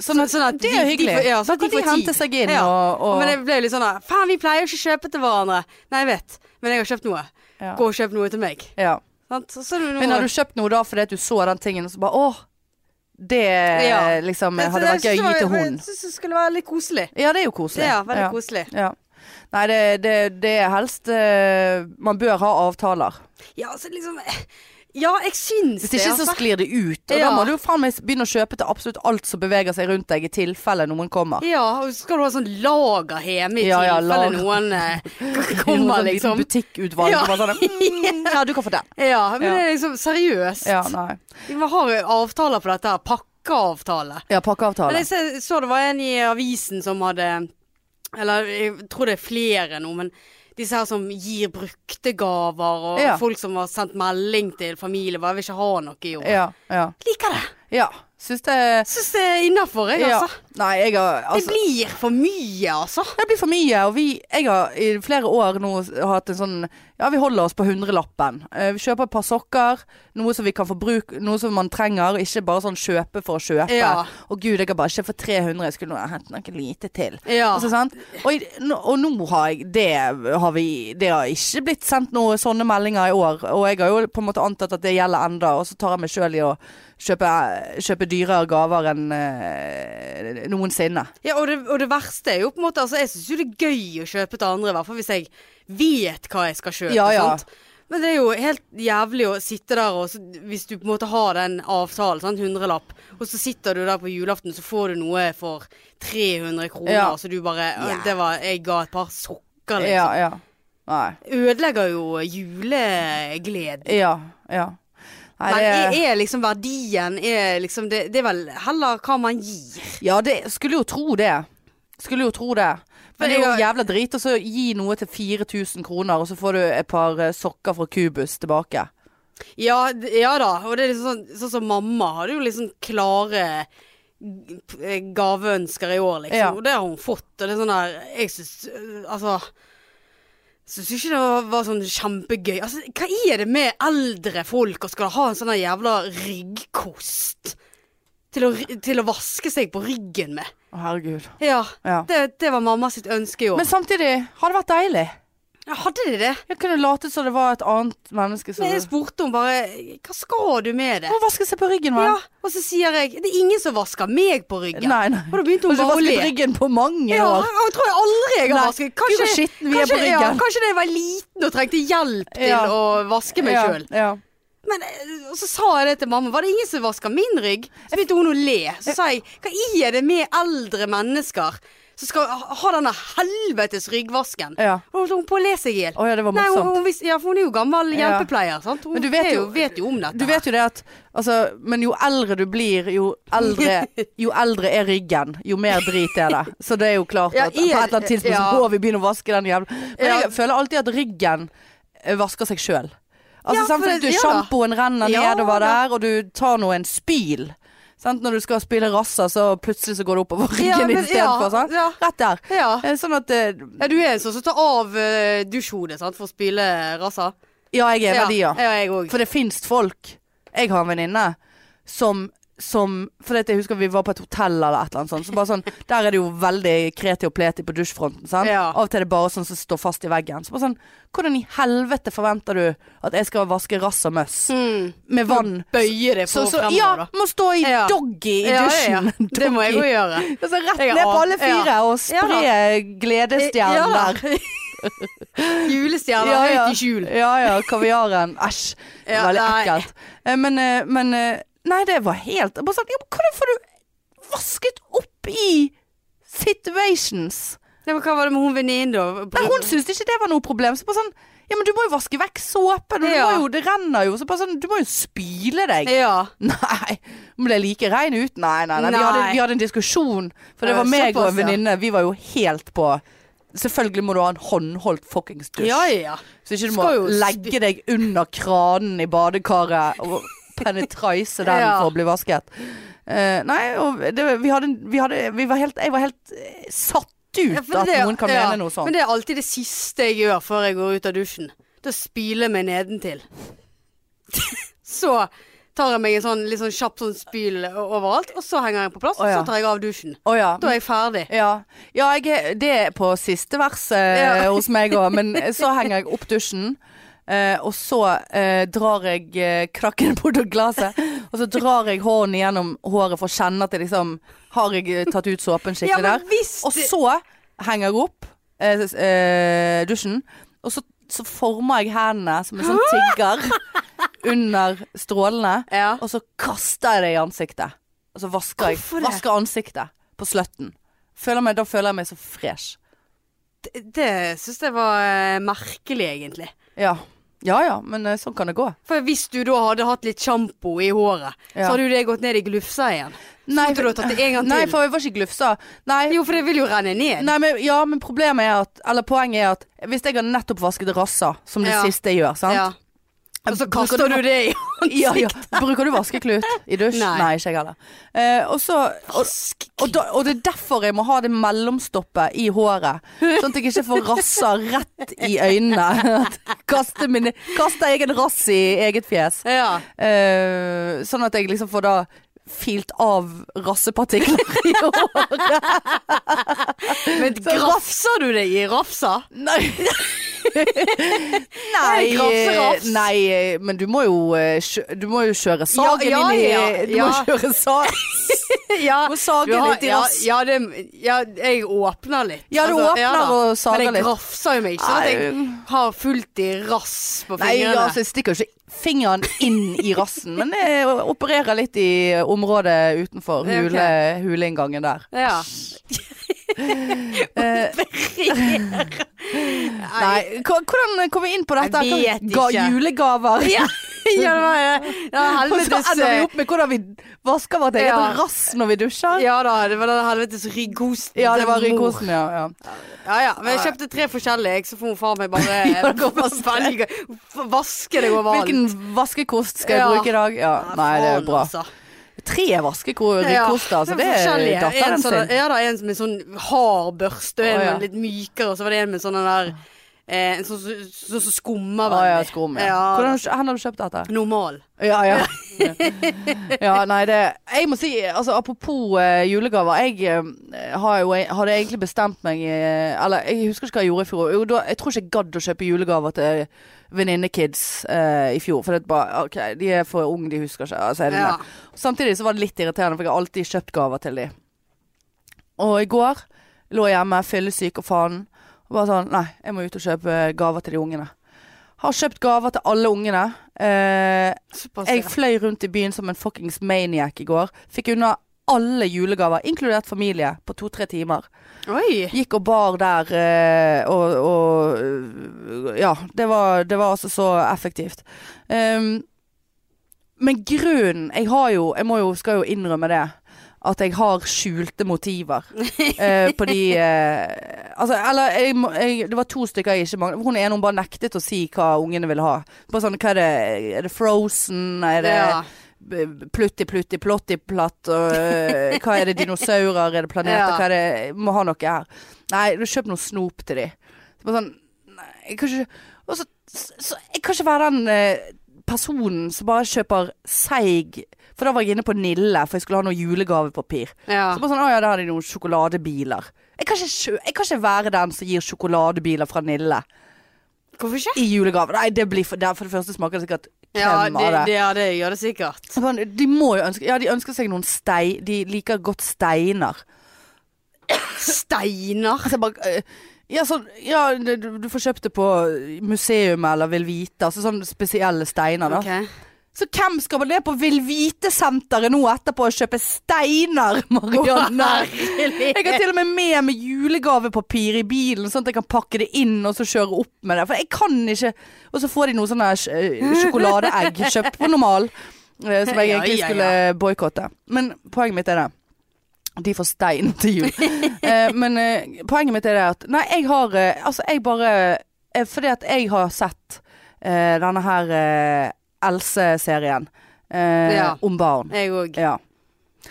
Speaker 1: Sånn at,
Speaker 2: Så- sånn at
Speaker 1: det er
Speaker 2: de- de
Speaker 1: hyggelig.
Speaker 2: får- ja,
Speaker 1: så
Speaker 2: sånn at
Speaker 1: kan
Speaker 2: de
Speaker 1: de
Speaker 2: får tid.
Speaker 1: hente seg inn
Speaker 2: Ja.
Speaker 1: og, og
Speaker 2: Men jeg ble litt sånn der Faen, vi pleier jo ikke å kjøpe til hverandre. Nei, jeg vet, men jeg har kjøpt noe.
Speaker 1: Ja.
Speaker 2: Gå og kjøp noe til meg.
Speaker 1: ja.
Speaker 2: Sant? Så, så er det noe-
Speaker 1: Men har du kjøpt noe da fordi at du så den tingen og så bare åh, det
Speaker 2: Ja.
Speaker 1: liksom
Speaker 2: Det-
Speaker 1: hadde
Speaker 2: det
Speaker 1: vært gøy å
Speaker 2: synes
Speaker 1: gi
Speaker 2: jeg
Speaker 1: til
Speaker 2: var-
Speaker 1: hun.
Speaker 2: Jeg syns det skulle være litt koselig.
Speaker 1: Ja, det er jo koselig.
Speaker 2: Ja, veldig koselig.
Speaker 1: Ja. Nei, det, det, det er helst eh, Man bør ha avtaler.
Speaker 2: Ja, altså liksom Ja, jeg syns
Speaker 1: Hvis ikke så
Speaker 2: altså.
Speaker 1: sklir det ut. Og da
Speaker 2: Ja.
Speaker 1: må du jo faen meg begynne å kjøpe til absolutt alt som beveger seg rundt deg, i tilfelle noen kommer.
Speaker 2: Ja, og så skal du ha sånn lager hjemme i
Speaker 1: Ja, ja,
Speaker 2: tilfelle
Speaker 1: lager.
Speaker 2: noen eh,
Speaker 1: Sånn
Speaker 2: kommer,
Speaker 1: liten
Speaker 2: liksom.
Speaker 1: Butikkutvalg.
Speaker 2: Ja.
Speaker 1: Ja. Sånn, mm, ja, du kan få den.
Speaker 2: Ja, men
Speaker 1: Ja.
Speaker 2: det er liksom seriøst.
Speaker 1: Ja, nei.
Speaker 2: Vi har jo avtaler på dette her. Pakkeavtale.
Speaker 1: Ja,
Speaker 2: Men
Speaker 1: pakkeavtale.
Speaker 2: jeg så, så det var en i avisen som hadde Eller jeg tror det er flere nå, men disse her som gir brukte gaver, og
Speaker 1: Ja.
Speaker 2: folk som har sendt melding til familie bare 'Jeg vil ikke ha noe i år'.
Speaker 1: Ja, ja.
Speaker 2: Liker det.
Speaker 1: ja. Syns det
Speaker 2: Syns det er innafor, jeg,
Speaker 1: ja.
Speaker 2: altså.
Speaker 1: Nei, jeg har altså,
Speaker 2: det blir for mye, altså.
Speaker 1: det blir for mye, og vi, jeg har i flere år nå hatt en sånn Ja, vi holder oss på hundrelappen. Eh, Vi kjøper et par sokker, noe som vi kan få bruk, noe som man trenger, ikke bare sånn kjøpe for å kjøpe.
Speaker 2: Ja.
Speaker 1: Og gud, jeg har bare kjøpt for 300, jeg skulle nå ha hentet noe lite til.
Speaker 2: Ja.
Speaker 1: Altså, sant? Og, i- nå- og nå har jeg det har, vi, det har ikke blitt sendt noen sånne meldinger i år. Og jeg har jo på en måte antatt at det gjelder enda Og så tar jeg meg sjøl i å kjøpe, kjøpe dyrere gaver enn eh, noensinne.
Speaker 2: Ja, og det, og det verste er jo på en måte altså, Jeg syns jo det er gøy å kjøpe til andre, i hvert fall hvis jeg vet hva jeg skal kjøpe.
Speaker 1: Ja, ja.
Speaker 2: Sant? Men det er jo helt jævlig å sitte der og så, Hvis du på en måte har den avtalen, sant, hundrelapp, og så sitter du der på julaften, så får du noe for 300 kroner,
Speaker 1: Ja.
Speaker 2: og så du bare «Å,
Speaker 1: Ja.
Speaker 2: Det var Jeg ga et par sokker,
Speaker 1: Ja,
Speaker 2: liksom.
Speaker 1: ja. Nei.
Speaker 2: Ødelegger jo julegleden.
Speaker 1: Ja, ja. Nei,
Speaker 2: Men er,
Speaker 1: det,
Speaker 2: er liksom verdien er liksom det, det er vel heller hva man gir.
Speaker 1: ja, det skulle jo tro det. Skulle jo tro det. Men det er jo
Speaker 2: jeg-
Speaker 1: jævla drit å så gi noe til 4000 kroner, og så får du et par eh, sokker fra Cubus tilbake.
Speaker 2: Ja, d- ja da. Og det er liksom sånn, sånn som mamma hadde jo liksom klare g- eh, gaveønsker i år, liksom.
Speaker 1: Ja.
Speaker 2: Og det har hun fått. Og det er sånn der Jeg syns Altså eh, Syns ikke det var, var sånn kjempegøy. Altså, hva er det med eldre folk og skal ha en sånn der jævla ryggkost til å, ri- til å vaske seg på ryggen med?
Speaker 1: Å, herregud.
Speaker 2: Ja,
Speaker 1: Ja.
Speaker 2: det, det var mamma sitt ønske i år.
Speaker 1: Men samtidig har det vært deilig.
Speaker 2: Ja, hadde de det?
Speaker 1: Jeg kunne latet som det var et annet menneske som
Speaker 2: Men jeg spurte henne bare Hva skal du med det?
Speaker 1: Må vaske seg på ryggen, vel.
Speaker 2: Ja, og så sier jeg Det er ingen som vasker meg på ryggen.
Speaker 1: Nei, nei.
Speaker 2: Og da begynte
Speaker 1: Har
Speaker 2: hun
Speaker 1: ikke
Speaker 2: bare å
Speaker 1: vasket
Speaker 2: le.
Speaker 1: ryggen på mange
Speaker 2: Ja,
Speaker 1: år.
Speaker 2: jeg tror jeg aldri jeg har
Speaker 1: Nei,
Speaker 2: vasket.
Speaker 1: Gud, hvor skitten vi er på
Speaker 2: kanskje- Ja,
Speaker 1: ryggen.
Speaker 2: kanskje da jeg var liten og trengte hjelp til
Speaker 1: Ja.
Speaker 2: å vaske meg sjøl.
Speaker 1: Ja.
Speaker 2: Men eh, og så sa jeg det til mamma. Var det ingen som vasker min rygg? Så begynte hun å le. Så sa jeg hva er det med eldre mennesker som skal ha ha denne helvetes ryggvasken?
Speaker 1: ja.
Speaker 2: Og så holdt hun på å le seg i hjel.
Speaker 1: Å ja, det var
Speaker 2: Nei, hun,
Speaker 1: morsomt.
Speaker 2: hun, vis- ja, for hun er jo gammel
Speaker 1: Ja.
Speaker 2: hjelpepleier. Sant? Hun
Speaker 1: Men du vet
Speaker 2: er
Speaker 1: jo-
Speaker 2: vet jo om dette.
Speaker 1: Du vet jo det at altså, Men jo eldre du blir, jo eldre, jo eldre er ryggen. Jo mer drit er det. Så det er jo klart
Speaker 2: Ja,
Speaker 1: at på et eller annet tidspunkt
Speaker 2: ja.
Speaker 1: så må vi begynne å vaske den jævla Men
Speaker 2: Ja.
Speaker 1: jeg føler alltid at ryggen eh, vasker seg sjøl. Altså
Speaker 2: Ja, for
Speaker 1: samtidig
Speaker 2: det-
Speaker 1: du
Speaker 2: ja da.
Speaker 1: Sjampoen renner
Speaker 2: Ja
Speaker 1: nedover
Speaker 2: da.
Speaker 1: der, og du tar nå en spyl. Sant? Når du skal spyle rasser, så plutselig så går det oppover
Speaker 2: Ja,
Speaker 1: ryggen
Speaker 2: men- ja,
Speaker 1: istedenfor. sant?
Speaker 2: ja.
Speaker 1: Rett der.
Speaker 2: Ja.
Speaker 1: Eh, Sånn at eh,
Speaker 2: ja, du er en sånn som tar av uh, dusjhodet sant, for å spyle rasa.
Speaker 1: Ja, jeg er verdier.
Speaker 2: Ja, jeg òg.
Speaker 1: For det finnes folk Jeg har en venninne som, som For dette, jeg husker vi var på et hotell eller et eller annet sånt. Så bare sånn, der er det jo veldig kreti og pleti på dusjfronten. Sant?
Speaker 2: Ja.
Speaker 1: Av og til er det bare sånn som står fast i veggen. Så bare sånn Hvordan i helvete forventer du at jeg skal vaske rass og møss
Speaker 2: Mm.
Speaker 1: med vann?
Speaker 2: Bøye det på
Speaker 1: Så, så,
Speaker 2: fremover,
Speaker 1: ja,
Speaker 2: da.
Speaker 1: må stå i
Speaker 2: Ja.
Speaker 1: doggy i
Speaker 2: Ja,
Speaker 1: dusjen.
Speaker 2: ja, ja. Det må jeg
Speaker 1: Doggy.
Speaker 2: òg gjøre.
Speaker 1: Altså, rett
Speaker 2: Jeg er
Speaker 1: ned på
Speaker 2: av-
Speaker 1: alle fire og
Speaker 2: Ja.
Speaker 1: spre gledestjernen der.
Speaker 2: Julestjerner
Speaker 1: Ja, ja.
Speaker 2: høyt i skjul.
Speaker 1: Ja ja, kaviaren. Æsj. Det
Speaker 2: Ja,
Speaker 1: var Veldig
Speaker 2: nei.
Speaker 1: ekkelt. Eh, Men, eh, men eh, Nei, det var helt jeg bare sånn, ja, men Hvordan får du vasket opp i situations?
Speaker 2: Nei, men hva var det med hun venninnen, da?
Speaker 1: Nei, hun syntes ikke det var noe problem. Så bare sånn Ja, men du må jo vaske vekk såpen. og Du
Speaker 2: Ja.
Speaker 1: må jo, det renner jo. Så bare sånn Du må jo spyle deg.
Speaker 2: Ja.
Speaker 1: Nei. Hun ble like rein ut. Nei, nei, nei. Vi,
Speaker 2: Nei.
Speaker 1: hadde, vi hadde en diskusjon. For det
Speaker 2: Ja,
Speaker 1: var meg og en
Speaker 2: såpass, ja.
Speaker 1: venninne. Vi var jo helt på Selvfølgelig må du ha en håndholdt fuckings dusj.
Speaker 2: Ja, ja.
Speaker 1: Så ikke du må
Speaker 2: Skal jo spi-
Speaker 1: legge deg under kranen i badekaret og penetrise den
Speaker 2: Ja.
Speaker 1: for å bli vasket. Eh, nei, og det, vi hadde, vi hadde vi var helt, Jeg var helt eh, satt ut
Speaker 2: Ja, for
Speaker 1: at
Speaker 2: det-
Speaker 1: noen kan
Speaker 2: ja.
Speaker 1: mene noe sånt.
Speaker 2: Men det er alltid det siste jeg gjør før jeg går ut av dusjen. Da spyler jeg meg nedentil. så tar jeg meg en sånn litt sånn kjapp sånn spyl o- overalt, og så henger jeg på plass, og
Speaker 1: Å, ja.
Speaker 2: så tar jeg av dusjen.
Speaker 1: Å ja.
Speaker 2: Da er jeg ferdig.
Speaker 1: ja. ja jeg, er- det er på siste verset eh,
Speaker 2: Ja.
Speaker 1: hos meg òg, men så henger jeg opp dusjen. eh, og så eh, drar jeg eh, krakken bort av glasset, og så drar jeg hånden gjennom håret for å kjenne at jeg liksom Har jeg eh, tatt ut såpen
Speaker 2: Ja,
Speaker 1: skikkelig der?
Speaker 2: men hvis
Speaker 1: Og
Speaker 2: det-
Speaker 1: så henger jeg opp eh, s- eh, dusjen, og så, så former jeg hendene som en sånn tigger under strålene.
Speaker 2: ja.
Speaker 1: Og så kaster jeg det i ansiktet. Og så vasker jeg
Speaker 2: Hvorfor det?
Speaker 1: vasker ansiktet på slutten. Føler meg, da føler jeg meg så fresh.
Speaker 2: Det, det syns jeg var eh, merkelig, egentlig.
Speaker 1: Ja. Ja ja, men eh, sånn kan det gå.
Speaker 2: For hvis du da hadde hatt litt sjampo i håret,
Speaker 1: Ja.
Speaker 2: så hadde jo det gått ned i glufsa igjen. Så
Speaker 1: Nei,
Speaker 2: måtte du ha tatt det en gang til.
Speaker 1: Nei, for jeg var ikke glufsa. Nei,
Speaker 2: Jo, for det vil jo renne ned.
Speaker 1: Nei, men, ja, men problemet er at Eller poenget er at hvis jeg har nettopp vasket rassa, som det
Speaker 2: Ja.
Speaker 1: siste jeg gjør, sant?
Speaker 2: Ja. Og så
Speaker 1: Bruker
Speaker 2: kaster
Speaker 1: du-
Speaker 2: du det i
Speaker 1: Ja, ja. Bruker du vaskeklut i dusj?
Speaker 2: Nei.
Speaker 1: Nei, ikke jeg heller. Eh, og, så, og, og, da, og det er derfor jeg må ha det mellomstoppet i håret. Sånn at jeg ikke får rasser rett i øynene. At- Kaster, mine, kaster egen rass i eget fjes.
Speaker 2: Ja.
Speaker 1: Eh, sånn at jeg liksom får da filt av rassepartikler i håret.
Speaker 2: Men grafser du det i rafsa?
Speaker 1: Nei.
Speaker 2: Nei, grafserafs.
Speaker 1: nei, eh, men du må jo, eh, kjø- du må jo kjøre sagen
Speaker 2: ja,
Speaker 1: inn i
Speaker 2: ja,
Speaker 1: Du må
Speaker 2: ja.
Speaker 1: kjøre sagen.
Speaker 2: Ja.
Speaker 1: Må sage
Speaker 2: Du har-
Speaker 1: litt i
Speaker 2: ja,
Speaker 1: rass.
Speaker 2: ja, det, ja, jeg åpner litt. Altså,
Speaker 1: Ja, du åpner
Speaker 2: da.
Speaker 1: og sager
Speaker 2: Men
Speaker 1: litt.
Speaker 2: jeg grafser jo meg ikke, sånn at jeg har fullt i rass på
Speaker 1: Nei,
Speaker 2: fingrene.
Speaker 1: altså, jeg stikker jo ikke fingeren inn i rassen, men jeg opererer litt i området utenfor
Speaker 2: Ja, ok.
Speaker 1: hule, huleinngangen der.
Speaker 2: ja.
Speaker 1: Eh, nei, hva- hvordan kom vi inn på dette?
Speaker 2: Jeg vet
Speaker 1: Ga,
Speaker 2: ikke.
Speaker 1: julegaver.
Speaker 2: ja, ja, det var det. Det var
Speaker 1: Og så
Speaker 2: helvetes
Speaker 1: ender vi
Speaker 2: eh,
Speaker 1: opp med hvordan vi vasker vårt eget
Speaker 2: Ja.
Speaker 1: rass når vi dusjer.
Speaker 2: eh, Ja da, det var den helvetes rygghosten.
Speaker 1: Ja, det var
Speaker 2: til mor.
Speaker 1: rygghosen, ja. ja.
Speaker 2: Ja ja, men jeg kjøpte tre forskjellige, jeg, så får far meg bare eh,
Speaker 1: Ja, det går fast.
Speaker 2: velge- Vaske deg over alt.
Speaker 1: Hvilken vaskekost skal jeg
Speaker 2: Ja.
Speaker 1: bruke i dag? Ja, nei, det er
Speaker 2: Faen,
Speaker 1: jo bra.
Speaker 2: altså.
Speaker 1: Tre vaskekoster, altså. Det er
Speaker 2: forskjellige.
Speaker 1: datteren
Speaker 2: En sånn-
Speaker 1: sin.
Speaker 2: Ja da, en med sånn hard børste, og en
Speaker 1: Å, ja.
Speaker 2: med litt mykere, og så var det en med sånn den der eh, en sånn som sånn som skummer
Speaker 1: Å ja,
Speaker 2: veldig.
Speaker 1: skum, ja.
Speaker 2: Ja.
Speaker 1: Hvordan, har du kjø- hvor har du kjøpt dette?
Speaker 2: Normal.
Speaker 1: Ja, ja. ja nei, det Jeg må si, altså apropos eh, julegaver. Jeg eh, har jo, jeg hadde egentlig bestemt meg eh, Eller jeg husker ikke hva jeg gjorde i fjor. Jo, da, jeg tror ikke jeg gadd å kjøpe julegaver til venninnekids eh, i fjor. For det er bare OK, de er for unge, de husker ikke. Altså, er det
Speaker 2: Ja.
Speaker 1: det? Samtidig så var det litt irriterende, for jeg har alltid kjøpt gaver til de. Og i går lå jeg hjemme, fyllesyk og faen. Og bare sånn Nei, jeg må ut og kjøpe gaver til de ungene. Har kjøpt gaver til alle ungene. Eh,
Speaker 2: Såpass,
Speaker 1: jeg
Speaker 2: Altså, ja.
Speaker 1: fløy rundt i byen som en fuckings maniac i går. Fikk unna alle julegaver, inkludert familie, på to-tre timer.
Speaker 2: Oi.
Speaker 1: Gikk og bar der eh, og, og eh, Ja, det var, det var altså så effektivt. Ehm, men grunnen Jeg har jo Jeg må jo, skal jo innrømme det. At jeg har skjulte motiver eh, på de eh, Altså, eller jeg, må- jeg, Det var to stykker jeg ikke manglet. Hun ene hun bare nektet å si hva ungene ville ha. Bare sånn Hva er det? Er det Frozen? Er det
Speaker 2: Ja.
Speaker 1: b- Plutti, plutti, plotti, platt og, øh, Hva er det? Dinosaurer? Er det planeter?
Speaker 2: Ja.
Speaker 1: Hva er det? Jeg Må ha noe her. Nei, du kjøp noe snop til de. Så bare sånn Nei, jeg kan ikke og så, så, Jeg kan ikke være den eh, personen som bare kjøper seig For da var jeg inne på Nille, for jeg skulle ha noe julegavepapir.
Speaker 2: ja.
Speaker 1: Så bare sånn, å ja, der har de noen sjokoladebiler. Jeg kan, ikke, kjø- jeg kan ikke være den som gir sjokoladebiler fra Nille
Speaker 2: Hvorfor ikke?
Speaker 1: i julegave. Nei, det blir for, der, for det første smaker det sikkert krem
Speaker 2: Ja, det,
Speaker 1: av det.
Speaker 2: det, ja, det gjør det sikkert.
Speaker 1: Sånn, De må jo ønske Ja, de ønsker seg noen stein De liker godt steiner
Speaker 2: Steiner.
Speaker 1: Altså jeg bare eh, Ja, sånn Ja, du, du får kjøpt det på museum Eller vil vite Altså sånne spesielle steiner da
Speaker 2: Ok.
Speaker 1: Så hvem skal man ned på vil vite senteret nå etterpå Og kjøpe steiner, Marianne? Jeg har til og med med meg julegavepapir i bilen Sånn at jeg kan pakke det inn Og så kjøre opp med det For jeg kan ikke Og så får de noen sånne sj- eh, sjokoladeegg Kjøpt på normal eh, Som jeg
Speaker 2: Ja,
Speaker 1: egentlig
Speaker 2: ja, ja.
Speaker 1: skulle boikotte Men poenget mitt er det de får stein til jul. Eh, men eh, poenget mitt er det at Nei, jeg har eh, Altså, jeg bare eh, Fordi at jeg har sett eh, denne her eh, Else-serien eh,
Speaker 2: Ja.
Speaker 1: om barn.
Speaker 2: Jeg òg.
Speaker 1: Ja.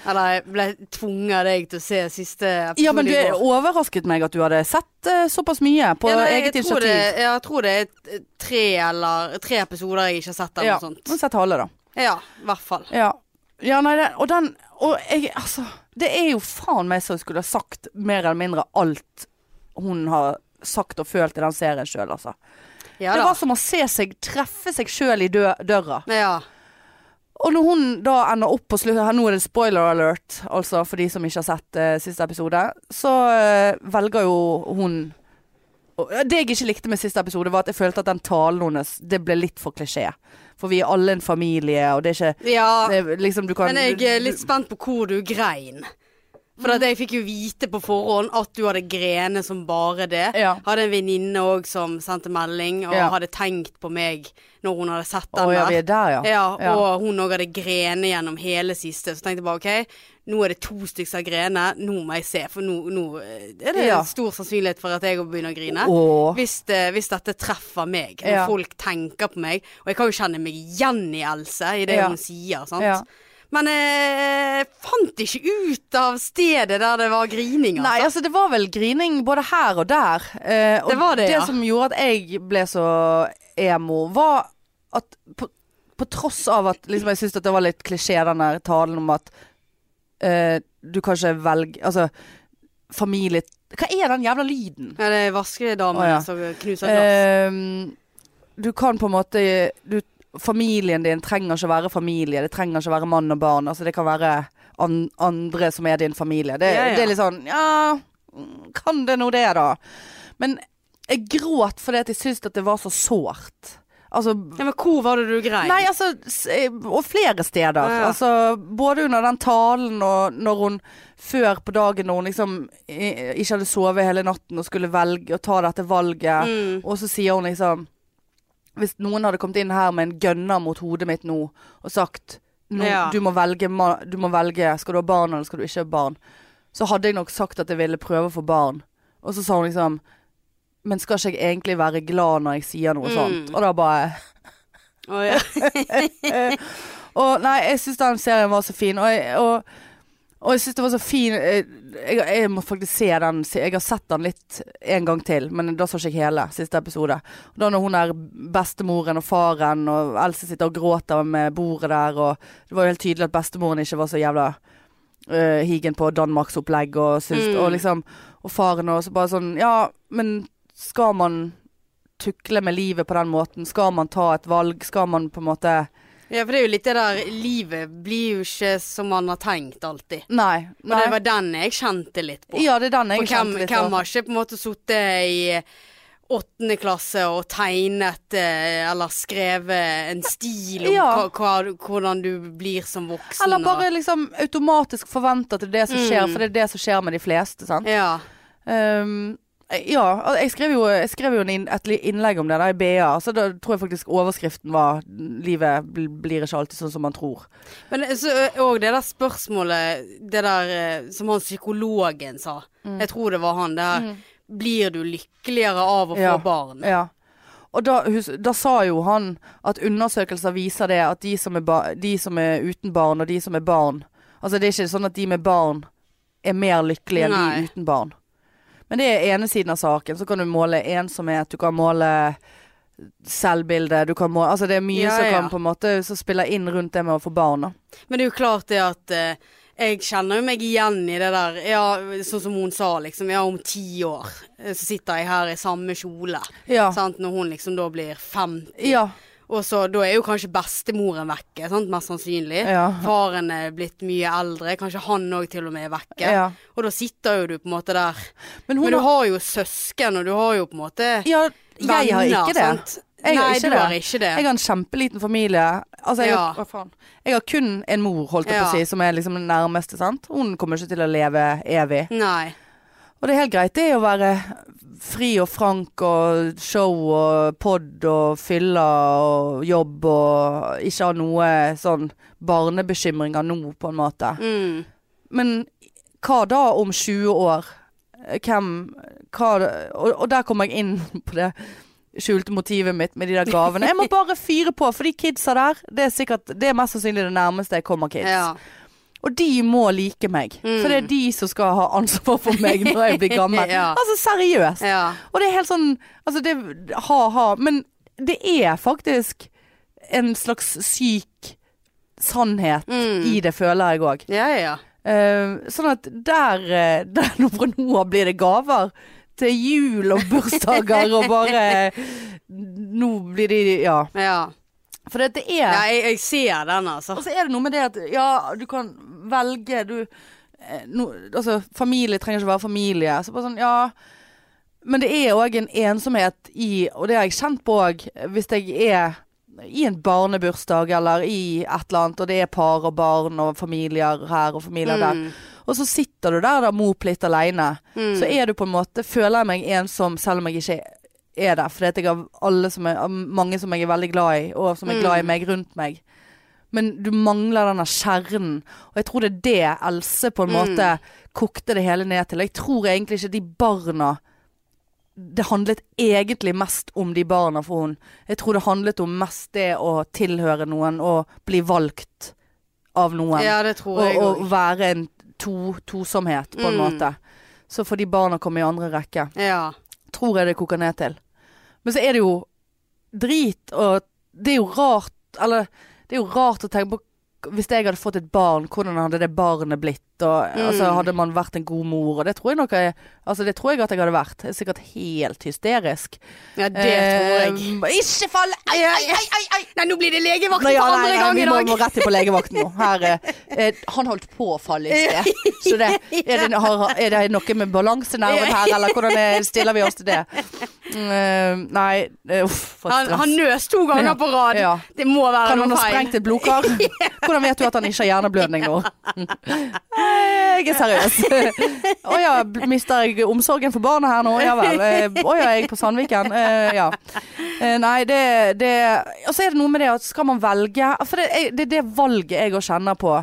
Speaker 2: Eller jeg ble tvunget av deg til å se siste episode
Speaker 1: ja, men
Speaker 2: i
Speaker 1: det
Speaker 2: går.
Speaker 1: overrasket meg at du hadde sett eh, såpass mye på
Speaker 2: Ja, nei, jeg
Speaker 1: eget
Speaker 2: tror
Speaker 1: initiativ.
Speaker 2: Det, ja, jeg tror det er t- tre, eller, tre episoder jeg ikke har sett. Eller
Speaker 1: ja,
Speaker 2: noe sånt.
Speaker 1: men sett halve, da.
Speaker 2: Ja, i hvert fall.
Speaker 1: Ja. ja nei, den, og den Og jeg, altså Det er jo faen meg så jeg skulle ha sagt mer eller mindre alt hun har sagt og følt i den serien sjøl, altså.
Speaker 2: Ja
Speaker 1: det
Speaker 2: da.
Speaker 1: var som å se seg treffe seg sjøl i dø døra.
Speaker 2: Ja.
Speaker 1: Og når hun da ender opp på slutten her, Nå er det spoiler alert, altså for de som ikke har sett eh, siste episode. Så eh, velger jo hun og, ja, Det jeg ikke likte med siste episode, var at jeg følte at den talen hennes Det ble litt for klisjé. For vi er alle en familie, og det er ikke
Speaker 2: ja.
Speaker 1: det er, liksom, du kan,
Speaker 2: Men jeg er litt spent på hvor du grein. For at jeg fikk jo vite på forhånd at du hadde grene som bare det.
Speaker 1: Ja.
Speaker 2: Hadde en venninne òg som sendte melding og
Speaker 1: Ja.
Speaker 2: hadde tenkt på meg når hun hadde sett
Speaker 1: Å
Speaker 2: den
Speaker 1: ja, vi
Speaker 2: der.
Speaker 1: er der, ja.
Speaker 2: Ja, og hun òg hadde grene gjennom hele siste. Så tenkte jeg bare OK, nå er det to stykker som har grene, nå må jeg se. For nå, nå eh, er det
Speaker 1: Ja.
Speaker 2: stor sannsynlighet for at jeg òg begynner å grine.
Speaker 1: Åh.
Speaker 2: Hvis, det, hvis dette treffer meg, når
Speaker 1: Ja.
Speaker 2: folk tenker på meg. Og jeg kan jo kjenne meg igjen i Else, i det
Speaker 1: Ja.
Speaker 2: hun sier. sant?
Speaker 1: Ja.
Speaker 2: Men eh, fant ikke ut av stedet der det var grining.
Speaker 1: Nei, altså det var vel grining både her og der. Eh, og
Speaker 2: Det var det, ja.
Speaker 1: som gjorde at jeg ble så emo, var at på, på tross av at liksom, jeg syntes at det var litt klisjé, den der talen om at eh, du kan ikke velge Altså, familie Hva er den jævla lyden?
Speaker 2: Ja, det er vaskedamen
Speaker 1: Å, ja.
Speaker 2: som knuser glass.
Speaker 1: Ehm, du kan på en måte du, Familien din trenger ikke å være familie. Det trenger ikke å være mann og barn. Altså, det kan være an, andre som er din familie. Det,
Speaker 2: Ja, ja.
Speaker 1: det er litt sånn Ja, mm, kan det nå det, da? Men jeg gråt fordi at jeg syntes at det var så sårt. Altså
Speaker 2: Ja, men hvor var det du grein?
Speaker 1: Nei, altså s- eh, Og flere steder.
Speaker 2: Ja, ja.
Speaker 1: Altså, både under den talen og når hun før på dagen når hun liksom eh, ikke hadde sovet hele natten og skulle velge å ta dette valget.
Speaker 2: Mm.
Speaker 1: Og så sier hun liksom Hvis noen hadde kommet inn her med en gønner mot hodet mitt nå og sagt nå,
Speaker 2: Ja.
Speaker 1: du, må velge, ma- du må velge, skal du ha barn eller skal du ikke ha barn? Så hadde jeg nok sagt at jeg ville prøve å få barn. Og så sa hun liksom Men skal ikke jeg egentlig være glad når jeg sier noe
Speaker 2: Mm.
Speaker 1: sånt? Og da bare
Speaker 2: Å, ja.
Speaker 1: og nei, jeg syns den serien var så fin. Og, jeg, og, Og jeg syns det var så fin eh, jeg, jeg må faktisk se den. se- Jeg har sett den litt en gang til, men da så ikke jeg hele siste episode. Og da når hun er bestemoren og faren, og Else sitter og gråter med bordet der, og det var jo helt tydelig at bestemoren ikke var så jævla eh, higen på Danmarksopplegg og syns
Speaker 2: Mm.
Speaker 1: Og liksom Og faren og så bare sånn Ja, men skal man tukle med livet på den måten? Skal man ta et valg? Skal man på en måte
Speaker 2: Ja, for det er jo litt det der Livet blir jo ikke som man har tenkt alltid.
Speaker 1: Nei.
Speaker 2: Og
Speaker 1: nei.
Speaker 2: det var den jeg kjente litt på.
Speaker 1: ja, det er den jeg
Speaker 2: For hvem,
Speaker 1: kjente litt
Speaker 2: hvem
Speaker 1: av.
Speaker 2: har ikke på en måte sittet i åttende klasse og tegnet eh, eller skrevet en stil om
Speaker 1: Ja.
Speaker 2: hva- hva, hvordan du blir som voksen?
Speaker 1: Eller bare liksom automatisk forvente at det er det som skjer,
Speaker 2: Mm.
Speaker 1: for det er det som skjer med de fleste.
Speaker 2: og,
Speaker 1: Sant?
Speaker 2: Ja.
Speaker 1: Um, ja, al- jeg skrev jo, jeg skrev jo en inn, et li- innlegg om det der i BA, så da tror jeg faktisk overskriften var 'Livet bl- blir ikke alltid sånn som man tror'.
Speaker 2: Men eh, så, og det der spørsmålet, det der eh, som han psykologen sa,
Speaker 1: Mm.
Speaker 2: jeg tror det var han, det her Blir du lykkeligere av å
Speaker 1: Ja.
Speaker 2: få barn?
Speaker 1: Ja. Og da, hus, da sa jo han at undersøkelser viser det at de som, er ba, de som er uten barn, og de som er barn Altså det er ikke sånn at de med barn er mer lykkelige enn
Speaker 2: Nei.
Speaker 1: de uten barn. Men det er ene siden av saken. Så kan du måle ensomhet, du kan måle selvbilde, du kan måle Altså det er mye
Speaker 2: Ja,
Speaker 1: som
Speaker 2: ja.
Speaker 1: kan på en måte Som spiller inn rundt det med å få barn, da.
Speaker 2: Men det er jo klart det at eh, jeg kjenner jo meg igjen i det der, ja, sånn som hun sa, liksom. Ja, om ti år eh, så sitter jeg her i samme kjole.
Speaker 1: Ja.
Speaker 2: Sant? Når hun liksom da blir 50.
Speaker 1: Ja.
Speaker 2: Og så da er jo kanskje bestemoren vekke, sant? mest sannsynlig.
Speaker 1: Ja.
Speaker 2: Faren er blitt mye eldre, kanskje han òg til og med er vekke.
Speaker 1: Ja.
Speaker 2: Og da sitter jo du på en måte der.
Speaker 1: Men hun
Speaker 2: Men du
Speaker 1: har
Speaker 2: har jo søsken, og du har jo på en måte
Speaker 1: Ja, jeg har ikke det.
Speaker 2: sant?
Speaker 1: Jeg har
Speaker 2: Nei,
Speaker 1: ikke
Speaker 2: du
Speaker 1: det.
Speaker 2: har ikke det.
Speaker 1: Jeg har en kjempeliten familie. Altså, jeg,
Speaker 2: Ja.
Speaker 1: har, hva faen? jeg har kun en mor, holdt jeg på å
Speaker 2: Ja.
Speaker 1: si, som er liksom den nærmeste. sant? Hun kommer ikke til å leve evig.
Speaker 2: Nei.
Speaker 1: Og det er helt greit, det å være fri og frank og show og pod og fyller og jobb og ikke ha noe sånn barnebekymringer nå, på en måte.
Speaker 2: Mm.
Speaker 1: Men hva da om 20 år? Hvem hva, og, og der kommer jeg inn på det skjulte motivet mitt med de der gavene. Jeg må bare fyre på, for de kidsa der, det er, sikkert, det er mest sannsynlig det nærmeste jeg kommer kids.
Speaker 2: Ja. Mm.
Speaker 1: Og de må like meg. For det er de som skal ha ansvar for meg når jeg blir gammel.
Speaker 2: Ja.
Speaker 1: Altså seriøst.
Speaker 2: ja.
Speaker 1: Og det er helt sånn Altså, det ha-ha. Men det er faktisk en slags syk sannhet
Speaker 2: Mm.
Speaker 1: i det, føler jeg òg.
Speaker 2: Ja, ja.
Speaker 1: Eh, sånn at der, eh, der nå fra nå av blir det gaver til jul og bursdager og bare Nå blir de Ja.
Speaker 2: ja.
Speaker 1: For det, det er
Speaker 2: Ja, jeg, jeg ser den, altså.
Speaker 1: Og så er det noe med det at ja, du kan velge du, eh, no, Altså, familie trenger ikke være familie. Så bare sånn, ja Men det er òg en ensomhet i Og det har jeg kjent på òg, hvis jeg er i en barnebursdag eller i et eller annet, og det er par og barn og familier her og familier der.
Speaker 2: Mm.
Speaker 1: Og så sitter du der da moplitt alene.
Speaker 2: Mm.
Speaker 1: Så er du på en måte Føler jeg meg ensom selv om jeg ikke er der. Fordi at jeg har alle som er, mange som jeg er veldig glad i, og
Speaker 2: Mm.
Speaker 1: som er glad i meg rundt meg. Men du mangler denne kjernen. Og jeg tror det er det Else på en
Speaker 2: Mm.
Speaker 1: måte kokte det hele ned til. Jeg tror egentlig ikke de barna Det handlet egentlig mest om de barna for hun. Jeg tror det handlet om mest det å tilhøre noen og bli valgt av noen
Speaker 2: Mm. Ja, det tror jeg
Speaker 1: og,
Speaker 2: òg.
Speaker 1: og være en to, tosomhet, på en
Speaker 2: Mm.
Speaker 1: måte. Så får de barna komme i andre rekke.
Speaker 2: Ja.
Speaker 1: Tror jeg det koker ned til. Men så er det jo drit, og det er jo rart Eller det er jo rart å tenke på Hvis jeg hadde fått et barn, hvordan hadde det barnet blitt? Og,
Speaker 2: Mm.
Speaker 1: altså, hadde man vært en god mor? Og det tror jeg nok jeg, altså, det tror jeg at jeg hadde vært. Jeg er sikkert helt hysterisk.
Speaker 2: ja, det tror jeg.
Speaker 1: Eh, ikke fall! Ai, ai, ai, ai, ai!
Speaker 2: Nei, nå blir det legevakt
Speaker 1: Nei, ja,
Speaker 2: for
Speaker 1: nei,
Speaker 2: andre
Speaker 1: nei,
Speaker 2: gang
Speaker 1: vi
Speaker 2: i
Speaker 1: må,
Speaker 2: dag.
Speaker 1: må rett inn på legevakten nå. Her, eh, eh, han holdt på å falle i sted. Så det, er, det, har, er det noe med balansenerven her, eller hvordan eh, stiller vi oss til det? Mm, eh, nei, eh, uff, for et
Speaker 2: Han,
Speaker 1: stress.
Speaker 2: han nøs to ganger
Speaker 1: Ja.
Speaker 2: på rad.
Speaker 1: Ja.
Speaker 2: Det må være
Speaker 1: Kan han
Speaker 2: noe
Speaker 1: ha
Speaker 2: feil.
Speaker 1: sprengt et blodkar? Hvordan vet du at han ikke har hjerneblødning nå? Eh, Jeg er seriøs. Å ja, bl- mister jeg omsorgen for barna her nå? Ja vel. Eh, Å ja, er jeg på Sandviken? Eh, Ja. Eh, Nei, det, det Og så er det noe med det at skal man velge For det er det, er det valget jeg òg kjenner på.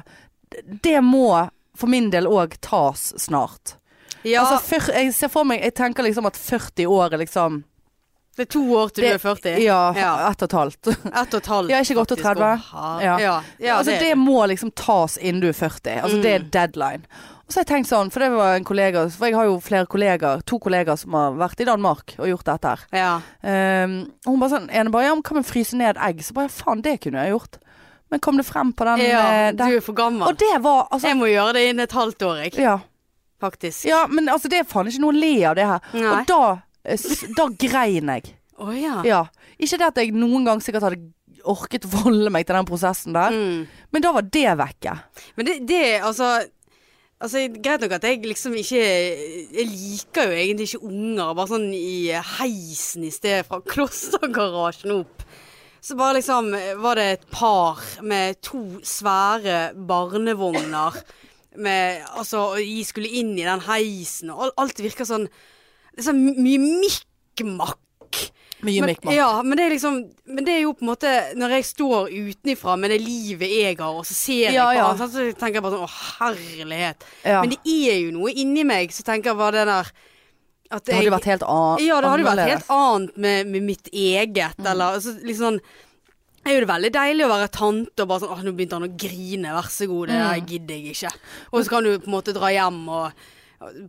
Speaker 1: Det må for min del òg tas snart.
Speaker 2: Ja,
Speaker 1: Altså, fyr- jeg ser for meg Jeg tenker liksom at 40 år er liksom
Speaker 2: Det er to år til
Speaker 1: Det-
Speaker 2: du er 40?
Speaker 1: Ja,
Speaker 2: Ja.
Speaker 1: ett og et halvt.
Speaker 2: Ett og et halvt.
Speaker 1: Ja, ikke gått til
Speaker 2: faktisk.
Speaker 1: 30.
Speaker 2: Å, ha-
Speaker 1: Ja.
Speaker 2: Ja. Ja,
Speaker 1: altså,
Speaker 2: det,
Speaker 1: det, må liksom tas innen du er 40. Altså, Det er
Speaker 2: Mm.
Speaker 1: deadline. Og så har jeg tenkt sånn, for det var en kollega For jeg har jo flere kollegaer, to kollegaer som har vært i Danmark og gjort dette her.
Speaker 2: ja.
Speaker 1: Um, og hun bare sånn ene bare, ja, men kan vi fryse ned egg? Så bare faen, det kunne jeg gjort. Men kom det frem på den eh,
Speaker 2: ja,
Speaker 1: der?
Speaker 2: du er for gammel.
Speaker 1: Og det var altså
Speaker 2: Jeg må gjøre det innen et halvt år, jeg.
Speaker 1: ja.
Speaker 2: Faktisk.
Speaker 1: ja, men altså, det er faen ikke noe å le av det her.
Speaker 2: Nei.
Speaker 1: Og da, eh, s- da grein jeg.
Speaker 2: Å ja.
Speaker 1: Ja. Ikke det at jeg noen gang sikkert hadde orket volde meg til den prosessen der,
Speaker 2: Mm.
Speaker 1: men da var det vekke.
Speaker 2: Men det, det er altså Altså, Greit nok at jeg liksom ikke Jeg liker jo egentlig ikke unger. Bare sånn i heisen i stedet, fra klostergarasjen opp. Så bare liksom var det et par med to svære barnevogner. Med, altså, og de skulle inn i den heisen, og al- alt virker sånn Det er sånn mye mikkmakk.
Speaker 1: Mye
Speaker 2: Men,
Speaker 1: mikmak.
Speaker 2: ja, men det er liksom Men det er jo på en måte Når jeg står utenifra med det livet jeg har, og så ser jeg
Speaker 1: Ja,
Speaker 2: på
Speaker 1: ja.
Speaker 2: han, sant, så tenker jeg bare sånn Å, herlighet.
Speaker 1: Ja.
Speaker 2: Men det er jo noe inni meg som tenker bare det der at
Speaker 1: Det hadde jo vært helt annet.
Speaker 2: ja, det hadde jo vært helt annet med, med mitt eget,
Speaker 1: Mm.
Speaker 2: eller altså, liksom sånn det er jo det veldig deilig å være tante og bare sånn Åh, nå begynte han å grine, vær så god, det
Speaker 1: Mm.
Speaker 2: der gidder jeg ikke. Og så kan du på en måte dra hjem og,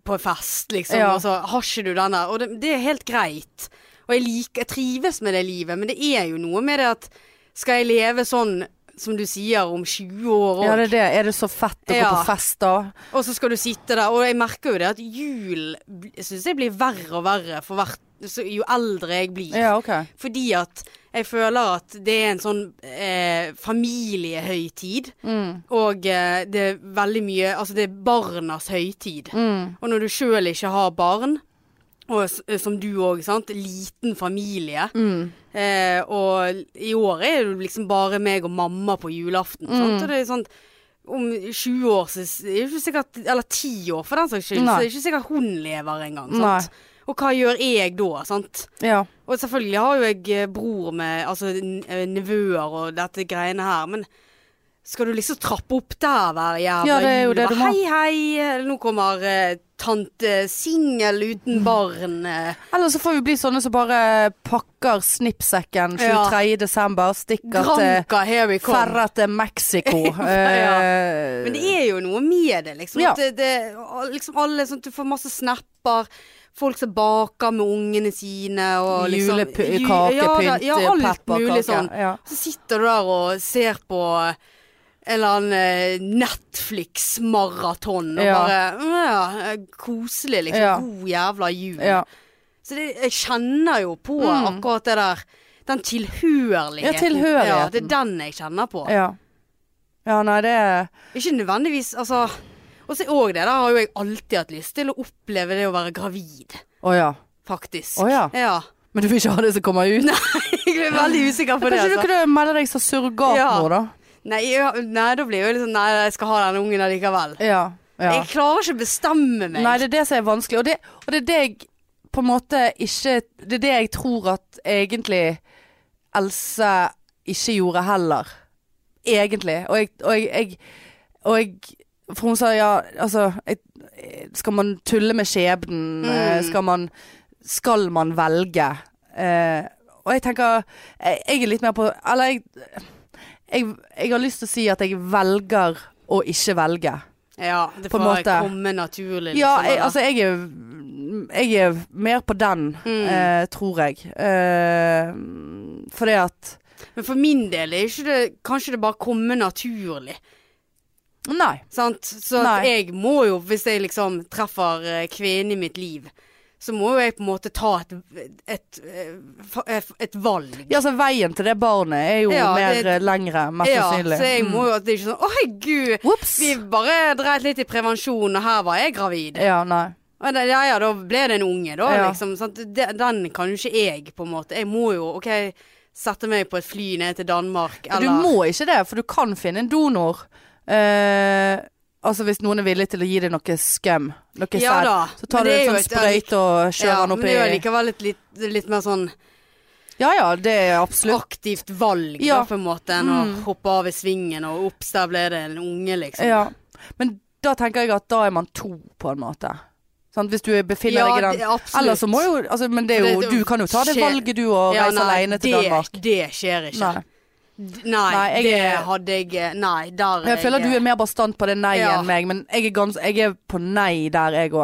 Speaker 2: på fest, liksom,
Speaker 1: Ja.
Speaker 2: og så har ikke du den der. Og det, det er helt greit. Og jeg, liker, jeg trives med det livet, men det er jo noe med det at skal jeg leve sånn som du sier, om 20 år òg?
Speaker 1: Ja, det er det. Er det så fett å gå
Speaker 2: Ja.
Speaker 1: på fest da?
Speaker 2: Og så skal du sitte der, og jeg merker jo det at jul bl- Jeg syns det blir verre og verre for hvert, så jo eldre jeg blir.
Speaker 1: Ja, ok.
Speaker 2: Fordi at jeg føler at det er en sånn eh, familiehøytid,
Speaker 1: Mm.
Speaker 2: og eh, det er veldig mye Altså det er barnas høytid.
Speaker 1: Mm.
Speaker 2: Og når du sjøl ikke har barn, og s- eh, som du òg, sant, liten familie
Speaker 1: Mm.
Speaker 2: eh, Og i år er det liksom bare meg og mamma på julaften,
Speaker 1: Mm.
Speaker 2: sant, og det er sånn om 20 år så s- er det ikke sikkert, eller 10 år for den saks skyld, så
Speaker 1: Nei.
Speaker 2: er det ikke sikkert hun lever engang.
Speaker 1: Nei.
Speaker 2: sant? Og hva gjør jeg da, sant?
Speaker 1: Ja.
Speaker 2: Og selvfølgelig har jo jeg eh, bror med altså, n- eh, nevøer og dette greiene her, men skal du liksom trappe opp der hver jævla
Speaker 1: Ja, det er jo
Speaker 2: jul?
Speaker 1: det du
Speaker 2: Bare,
Speaker 1: må.
Speaker 2: Hei, hei, nå kommer eh, tante singel
Speaker 1: Mm.
Speaker 2: uten barn. eh.
Speaker 1: Eller så får vi bli sånne som bare pakker snippsekken 23. desember, stikker til
Speaker 2: Granka, here we come.
Speaker 1: Ferrer til Mexico.
Speaker 2: Ja.
Speaker 1: Eh,
Speaker 2: Men det er jo noe med det, liksom.
Speaker 1: Ja.
Speaker 2: At det, det, og liksom alle, sånn, at du får masse snapper. Folk som baker med ungene sine og liksom
Speaker 1: Julepu-
Speaker 2: ju-
Speaker 1: kakepynt,
Speaker 2: ja, da- ja, alt
Speaker 1: pepperkake,
Speaker 2: mulig sånn.
Speaker 1: ja.
Speaker 2: Så sitter du der og ser på en eller annen eh, Netflix-maraton og
Speaker 1: Ja.
Speaker 2: bare mm, ja, eh, Koselig, liksom.
Speaker 1: Ja.
Speaker 2: God jævla jul.
Speaker 1: ja.
Speaker 2: Så det, jeg kjenner jo på
Speaker 1: Mm.
Speaker 2: akkurat det der. Den tilhørigheten.
Speaker 1: Ja, tilhørigheten.
Speaker 2: Ja, det er den jeg kjenner på.
Speaker 1: ja. Ja, nei, det er
Speaker 2: Ikke nødvendigvis, altså Og så òg det, der har jo jeg alltid hatt lyst til å oppleve det å være gravid,
Speaker 1: Å ja.
Speaker 2: faktisk.
Speaker 1: Å ja.
Speaker 2: ja.
Speaker 1: Men du vil ikke ha det som kommer ut?
Speaker 2: Jeg er veldig usikker på det.
Speaker 1: Kanskje du
Speaker 2: Altså.
Speaker 1: kunne melde deg som surrogatmor, da?
Speaker 2: Nei, ja, nei, da blir jeg jo litt sånn Nei, jeg skal ha den ungen allikevel.
Speaker 1: Ja. ja.
Speaker 2: Jeg klarer ikke å bestemme meg.
Speaker 1: Nei, det er det som er vanskelig. Og det, og det er det jeg på en måte ikke Det er det jeg tror at egentlig Else ikke gjorde heller. Egentlig. Og jeg, og jeg, jeg, og jeg For hun sa ja, altså jeg, Skal man tulle med skjebnen? Eh, Skal man Skal man velge? Eh, og jeg tenker jeg, jeg er litt mer på Eller jeg, jeg Jeg har lyst til å si at jeg velger å ikke velge.
Speaker 2: ja, det
Speaker 1: på en
Speaker 2: får
Speaker 1: måte.
Speaker 2: komme naturlig.
Speaker 1: Ja,
Speaker 2: liksom,
Speaker 1: jeg,
Speaker 2: eller?
Speaker 1: altså jeg er, jeg er mer på den,
Speaker 2: Mm.
Speaker 1: eh, tror jeg. Eh, fordi at
Speaker 2: Men for min del er ikke det Kanskje det bare komme naturlig.
Speaker 1: Nei.
Speaker 2: Sant? Så at
Speaker 1: Nei.
Speaker 2: jeg må jo, hvis jeg liksom treffer eh, kvinnen i mitt liv, så må jo jeg på en måte ta et, et, et, et valg.
Speaker 1: Ja, altså veien til det barnet er jo
Speaker 2: Ja,
Speaker 1: mer
Speaker 2: det-
Speaker 1: eh, lengre, mest sannsynlig.
Speaker 2: Ja, så jeg må
Speaker 1: Mm.
Speaker 2: jo at det er ikke sånn Å, herregud,
Speaker 1: Ops!
Speaker 2: vi bare dreit litt i prevensjon, og her var jeg gravid.
Speaker 1: Ja, nei.
Speaker 2: Og da- Ja ja, da ble det en unge, da,
Speaker 1: Ja.
Speaker 2: liksom. Sant? De- Den kan jo ikke jeg, på en måte. Jeg må jo, OK, sette meg på et fly ned til Danmark,
Speaker 1: Du
Speaker 2: eller
Speaker 1: må ikke det, for du kan finne en donor. Eh, altså hvis noen er villig til å gi deg noe skum, noe
Speaker 2: Ja
Speaker 1: sæd,
Speaker 2: da,
Speaker 1: så tar
Speaker 2: men
Speaker 1: du
Speaker 2: det er
Speaker 1: en
Speaker 2: jo
Speaker 1: sånn
Speaker 2: et-
Speaker 1: sprøyte og kjører
Speaker 2: ja,
Speaker 1: den opp
Speaker 2: Men det er jo
Speaker 1: i
Speaker 2: likevel et litt, litt mer sånn
Speaker 1: Ja ja, det er absolutt.
Speaker 2: aktivt valg,
Speaker 1: Ja. Mm.
Speaker 2: da, på en måte, enn å hoppe av i svingen og opps, der ble det en unge, liksom.
Speaker 1: Ja. Men da tenker jeg at da er man to, på en måte. Sant? Hvis du befinner deg i den
Speaker 2: det- absolutt.
Speaker 1: Ellers så må jo altså, Men det er jo,
Speaker 2: Det- det
Speaker 1: du kan jo ta det
Speaker 2: skjer-
Speaker 1: valget du og
Speaker 2: Ja,
Speaker 1: reise
Speaker 2: nei,
Speaker 1: alene til
Speaker 2: det,
Speaker 1: Danmark.
Speaker 2: Det skjer ikke.
Speaker 1: Nei.
Speaker 2: D- Nei,
Speaker 1: Nei, jeg
Speaker 2: det
Speaker 1: er-
Speaker 2: hadde jeg Nei, der er
Speaker 1: Jeg føler du er mer bastant på det nei
Speaker 2: Ja.
Speaker 1: enn meg, men jeg er, gans, jeg er på nei der jeg òg.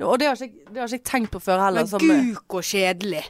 Speaker 1: Og det har, ikke, jeg- det har ikke jeg tenkt på før heller.
Speaker 2: Men
Speaker 1: Som, eh,
Speaker 2: guk og kjedelig.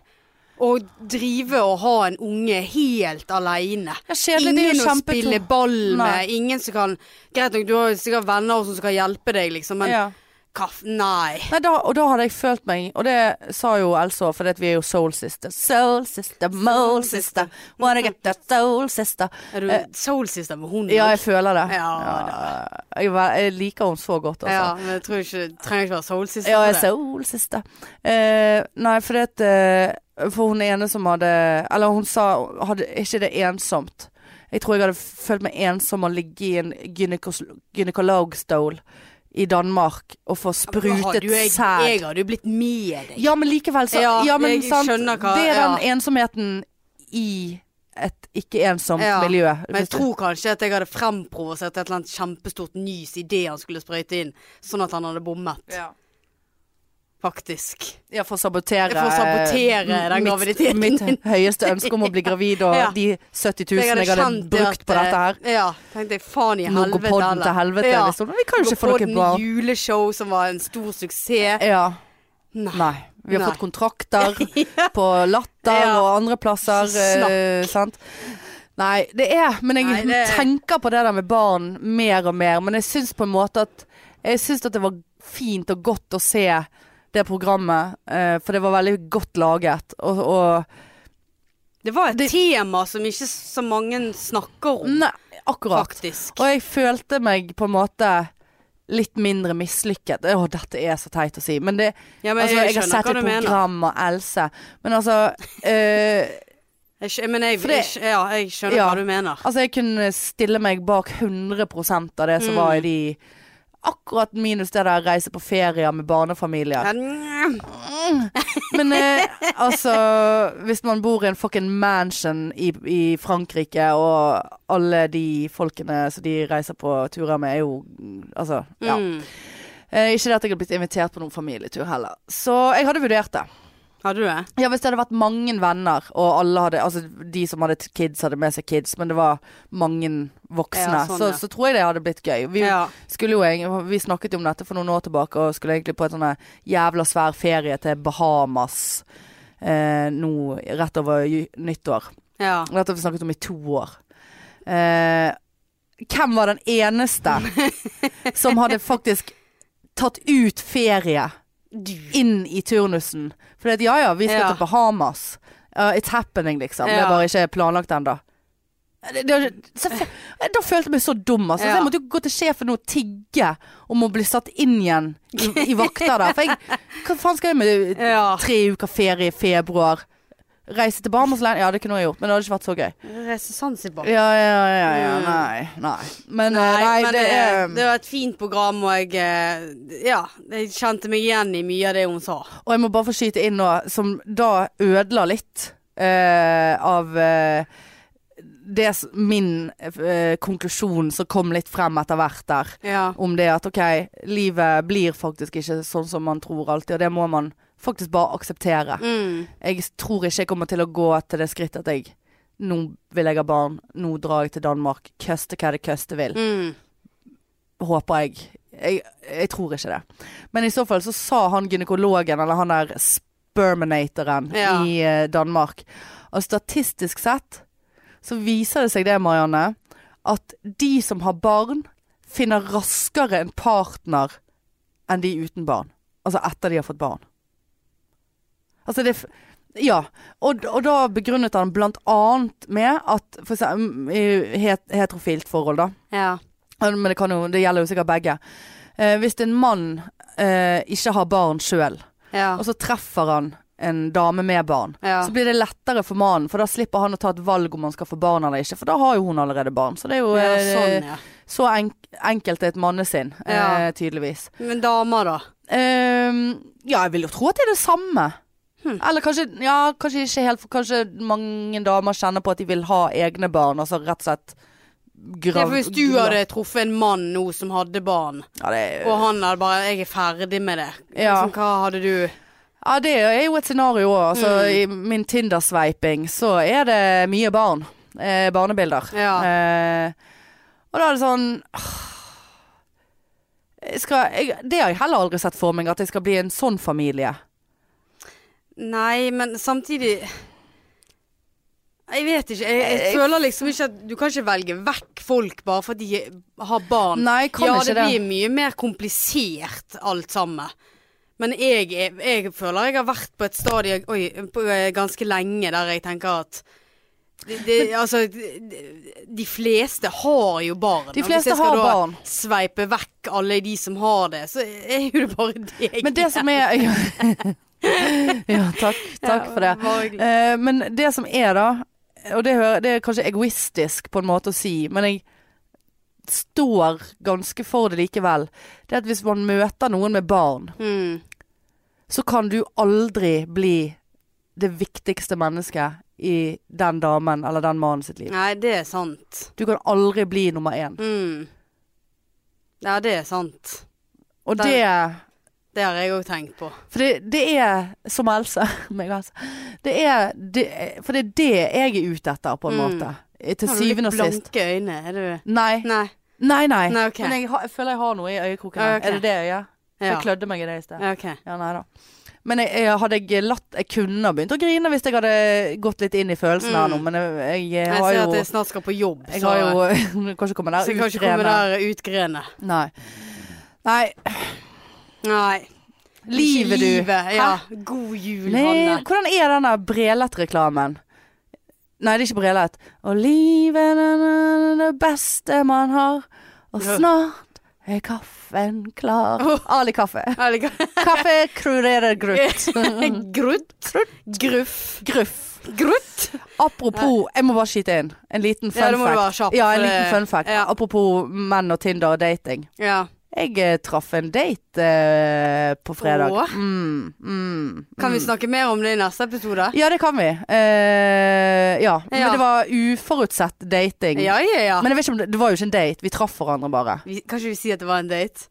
Speaker 2: Å drive og ha en unge helt aleine.
Speaker 1: Ja, kjedelig, det er jo
Speaker 2: ingen å
Speaker 1: kjempetom-
Speaker 2: spille ball med.
Speaker 1: Nei.
Speaker 2: Ingen som kan Greit nok, du har jo sikkert venner også som skal hjelpe deg, liksom, men
Speaker 1: ja.
Speaker 2: kaff... Nei.
Speaker 1: Nei, da, og da hadde jeg følt meg Og det sa jo Else òg, for vi er jo soul sister. Soul sister, mole sister. Wanna get that soul sister.
Speaker 2: Er du soul sister med hunden?
Speaker 1: Eh. Ja, jeg føler det.
Speaker 2: Ja,
Speaker 1: jeg, ver- jeg liker henne så godt, altså.
Speaker 2: Ja, men jeg tror ikke Trenger ikke være soul sister.
Speaker 1: Ja,
Speaker 2: for
Speaker 1: jeg
Speaker 2: det.
Speaker 1: soul sister. Eh, nei, for det at eh, For hun ene som hadde Eller hun sa hadde ikke det ensomt. Jeg tror jeg hadde følt meg ensom å ligge i en gynekos- gynekologstol i Danmark og få
Speaker 2: Hadde
Speaker 1: sprutet
Speaker 2: jo jeg, Jeg
Speaker 1: sæd.
Speaker 2: hadde jo blitt med deg.
Speaker 1: Ja, men likevel så
Speaker 2: Ja,
Speaker 1: ja, men,
Speaker 2: jeg
Speaker 1: sant,
Speaker 2: skjønner hva-
Speaker 1: Det er den
Speaker 2: ja.
Speaker 1: ensomheten i et ikke-ensomt
Speaker 2: Ja,
Speaker 1: miljø.
Speaker 2: Men jeg tror kanskje at jeg hadde fremprovosert et eller annet kjempestort nys idet han skulle sprøyte inn, sånn at han hadde bommet,
Speaker 1: ja.
Speaker 2: faktisk.
Speaker 1: Ja, for å sabotere,
Speaker 2: For å sabotere
Speaker 1: eh,
Speaker 2: den
Speaker 1: mitt-
Speaker 2: graviditeten
Speaker 1: Mitt
Speaker 2: min.
Speaker 1: høyeste ønske om å bli gravid og
Speaker 2: Ja.
Speaker 1: de 70 000 jeg hadde, brukt på dette her.
Speaker 2: eh, Ja, tenkte jeg faen eh, i
Speaker 1: Nå går
Speaker 2: helvete.
Speaker 1: podden til helvete.
Speaker 2: Ja.
Speaker 1: Liksom. Men vi kan jo ikke få noe
Speaker 2: Podden
Speaker 1: bra.
Speaker 2: juleshow som var en stor suksess.
Speaker 1: Ja.
Speaker 2: Nei.
Speaker 1: Nei. Vi har
Speaker 2: Nei.
Speaker 1: fått kontrakter på Latter
Speaker 2: Ja.
Speaker 1: og andre plasser.
Speaker 2: Så
Speaker 1: eh, sant? Nei, det er Men jeg
Speaker 2: Nei, det-
Speaker 1: tenker på det der med barn mer og mer. Men jeg syns på en måte at Jeg syns at det var fint og godt å se det programmet. eh, for det var veldig godt laget. Og, og
Speaker 2: Det var et tema som ikke så mange snakker om,
Speaker 1: Nei, akkurat.
Speaker 2: faktisk.
Speaker 1: Og jeg følte meg på en måte litt mindre mislykket. Å, dette er så teit å si. Men det
Speaker 2: Ja, men
Speaker 1: altså, jeg, har
Speaker 2: skjønner
Speaker 1: sett
Speaker 2: hva
Speaker 1: et
Speaker 2: du mener.
Speaker 1: program av Else. Men altså eh,
Speaker 2: Jeg, skj- men jeg,
Speaker 1: For det-
Speaker 2: jeg, ja, jeg skjønner
Speaker 1: Ja.
Speaker 2: hva du mener.
Speaker 1: Altså, jeg kunne stille meg bak 100 av det som
Speaker 2: Mm.
Speaker 1: var i de Akkurat minus det der reise på ferier med barnefamilier.
Speaker 2: Men-
Speaker 1: Men eh, altså Hvis man bor i en fucking mansion i, i Frankrike, og alle de folkene som de reiser på turer med, er jo Altså, ja.
Speaker 2: Mm.
Speaker 1: Eh, ikke det at jeg hadde blitt invitert på noen familietur heller. Så jeg hadde vurdert det.
Speaker 2: Hadde du det?
Speaker 1: Ja, Hvis det hadde vært mange venner, og alle hadde Altså de som hadde t- kids, hadde med seg kids, men det var mange voksne,
Speaker 2: Ja, sånn,
Speaker 1: så,
Speaker 2: ja.
Speaker 1: så tror jeg det hadde blitt gøy. Vi,
Speaker 2: Ja.
Speaker 1: skulle jo, eng- vi snakket jo om dette for noen år tilbake, og skulle egentlig på en sånn jævla svær ferie til Bahamas eh, nå rett over ju- nyttår.
Speaker 2: ja.
Speaker 1: Dette har vi snakket om i to år. Eh, hvem var den eneste som hadde faktisk tatt ut ferie
Speaker 2: Du.
Speaker 1: inn i turnusen? For det at ja ja, vi skal
Speaker 2: Ja.
Speaker 1: til Bahamas. Uh, it's happening, liksom. Det
Speaker 2: Ja. Eh,
Speaker 1: er bare ikke planlagt ennå. Det- det- selvfø- eh, Da følte jeg meg så dum. Altså. Så
Speaker 2: Ja.
Speaker 1: jeg måtte jo gå til sjefen og tigge om å bli satt inn igjen i, i vakter der. For jeg, hva faen skal jeg med
Speaker 2: Ja.
Speaker 1: tre uker ferie i februar? Reise til Bahamas? Ja, det kunne jeg gjort, men det hadde ikke vært så gøy.
Speaker 2: Resesansibar.
Speaker 1: Ja, ja, ja, ja.
Speaker 2: Mm.
Speaker 1: Nei, nei. Men,
Speaker 2: Nei,
Speaker 1: eh, nei,
Speaker 2: men
Speaker 1: det, er
Speaker 2: det var et fint program, og jeg eh, Ja, jeg kjente meg igjen i mye av det hun sa.
Speaker 1: Og jeg må bare få skyte inn nå, som da ødela litt eh, av eh, det s- min eh, konklusjon som kom litt frem etter hvert der.
Speaker 2: Ja.
Speaker 1: Om det at ok, livet blir faktisk ikke sånn som man tror alltid, og det må man faktisk bare akseptere.
Speaker 2: Mm.
Speaker 1: Jeg tror ikke jeg kommer til å gå til det skritt at jeg nå vil jeg ha barn, nå drar jeg til Danmark, køste hva det køste vil.
Speaker 2: Mm.
Speaker 1: håper jeg. jeg. Jeg tror ikke det. Men i så fall så sa han gynekologen, eller han der sperminatoren
Speaker 2: Ja.
Speaker 1: i eh, Danmark, at statistisk sett så viser det seg det, Marianne, at de som har barn, finner raskere en partner enn de uten barn. Altså etter de har fått barn. Altså det f- Ja. Og, og da begrunnet han blant annet med at For eksempel i het, heterofilt forhold, da.
Speaker 2: Ja.
Speaker 1: Ja, Men det, kan jo, det gjelder jo sikkert begge. Eh, hvis en mann eh, ikke har barn sjøl,
Speaker 2: Ja.
Speaker 1: og så treffer han en dame med barn,
Speaker 2: Ja.
Speaker 1: så blir det lettere for mannen, for da slipper han å ta et valg om han skal få barn eller ikke, for da har jo hun allerede barn. Så det er jo
Speaker 2: ja,
Speaker 1: eh,
Speaker 2: sånn, ja.
Speaker 1: så enk enkelt er et mannesinn, eh,
Speaker 2: Ja.
Speaker 1: tydeligvis.
Speaker 2: Men damer, da?
Speaker 1: Ehm, ja, jeg vil jo tro at det er det samme.
Speaker 2: Hm.
Speaker 1: Eller kanskje, ja, kanskje ikke helt, for kanskje mange damer kjenner på at de vil ha egne barn, altså rett og slett
Speaker 2: Det er
Speaker 1: grav-
Speaker 2: for Hvis du hadde truffet en mann nå som hadde barn,
Speaker 1: ja, det er,
Speaker 2: og han hadde bare 'Jeg er ferdig med det',
Speaker 1: Eh. Ja.
Speaker 2: liksom, hva hadde du
Speaker 1: ja, det er jo et scenario òg. Altså,
Speaker 2: Mm.
Speaker 1: I min Tinder-sveiping så er det mye barn. Eh, barnebilder.
Speaker 2: Ja.
Speaker 1: Eh, og da er det sånn ah, jeg skal, jeg, Det har jeg heller aldri sett for meg, at jeg skal bli en sånn familie.
Speaker 2: Nei, men samtidig Jeg vet ikke. Jeg, jeg
Speaker 1: Eh, Jeg-
Speaker 2: føler liksom ikke at du kan ikke velge vekk folk bare fordi de har barn.
Speaker 1: Nei, jeg kan
Speaker 2: ja,
Speaker 1: ikke
Speaker 2: det
Speaker 1: det.
Speaker 2: blir mye mer komplisert alt sammen. Men jeg, er- jeg føler jeg har vært på et stadie oi, på, eh, ganske lenge der jeg tenker at det, det, altså, de, de fleste har jo barn. og
Speaker 1: De fleste
Speaker 2: Hvis jeg
Speaker 1: har
Speaker 2: skal da
Speaker 1: barn.
Speaker 2: sveipe vekk alle de som har det, så er jo det bare deg.
Speaker 1: Men det som er Ja, takk, takk for det.
Speaker 2: Bare hyggelig.
Speaker 1: Eh, men det som er da, og det, hører, det er kanskje egoistisk på en måte å si, men jeg står ganske for det likevel, det er at hvis man møter noen med barn,
Speaker 2: Mm.
Speaker 1: så kan du aldri bli det viktigste mennesket i den damen eller den mannen sitt liv.
Speaker 2: Nei, det er sant.
Speaker 1: Du kan aldri bli nummer én.
Speaker 2: Mm. Ja, det er sant.
Speaker 1: Og
Speaker 2: Der-
Speaker 1: det
Speaker 2: Det har jeg òg tenkt på.
Speaker 1: For det, det er som Else. meg og Else. Det er det, For det er det jeg er ute etter, på en
Speaker 2: Mm.
Speaker 1: måte. Eh, Til syvende og sist.
Speaker 2: Blanke øyne, er du
Speaker 1: Nei.
Speaker 2: Nei.
Speaker 1: Nei, nei.
Speaker 2: Nei, ok.
Speaker 1: Men jeg, har- jeg føler jeg har noe i øyekroken.
Speaker 2: Ja,
Speaker 1: her.
Speaker 2: ok.
Speaker 1: Er det det øyet? For
Speaker 2: Ja.
Speaker 1: Jeg klødde meg i det i sted.
Speaker 2: ja, OK.
Speaker 1: Ja, nei da. Men jeg, jeg hadde jeg latt Jeg kunne ha begynt å grine hvis jeg hadde gått litt inn i følelsen her
Speaker 2: Mm.
Speaker 1: nå, men jeg, jeg
Speaker 2: Jeg
Speaker 1: har
Speaker 2: ser
Speaker 1: jo
Speaker 2: at jeg snart skal på jobb,
Speaker 1: Jeg
Speaker 2: så, eh,
Speaker 1: har jo Du kan ikke komme der
Speaker 2: så jeg kan ikke komme
Speaker 1: utgrene.
Speaker 2: der utgrene.
Speaker 1: Nei. Nei,
Speaker 2: Nei.
Speaker 1: livet, du.
Speaker 2: Livet, ja. God jul,
Speaker 1: Nei,
Speaker 2: Hanne.
Speaker 1: hvordan er den der Brelet-reklamen? Nei, det er ikke Brelet. Og livet er det beste man har, og
Speaker 2: Ja. Oh.
Speaker 1: snart er kaffen klar.
Speaker 2: Åh.
Speaker 1: Ali kaffe.
Speaker 2: Eller hva-
Speaker 1: Kaffe krurerer grutt.
Speaker 2: Grutt. Gruff.
Speaker 1: Gruff.
Speaker 2: Grutt.
Speaker 1: Apropos, jeg må bare skyte inn. En liten fun
Speaker 2: Ja, det må du
Speaker 1: fact.
Speaker 2: være kjapp.
Speaker 1: ja, en
Speaker 2: for
Speaker 1: liten
Speaker 2: det-
Speaker 1: fun fact.
Speaker 2: Ja.
Speaker 1: Apropos menn og Tinder og dating.
Speaker 2: ja.
Speaker 1: Jeg eh, traff en date eh, på fredag.
Speaker 2: Åh.
Speaker 1: Mm, mm,
Speaker 2: Kan vi
Speaker 1: mm.
Speaker 2: snakke mer om det i neste episode?
Speaker 1: Ja, det kan vi. Eh, ja.
Speaker 2: Ja.
Speaker 1: Men det var uforutsett dating.
Speaker 2: Ja, ja, ja.
Speaker 1: Men jeg vet ikke om det, det var jo ikke en date. Vi traff hverandre bare.
Speaker 2: Vi, kanskje vi sier at det var en date?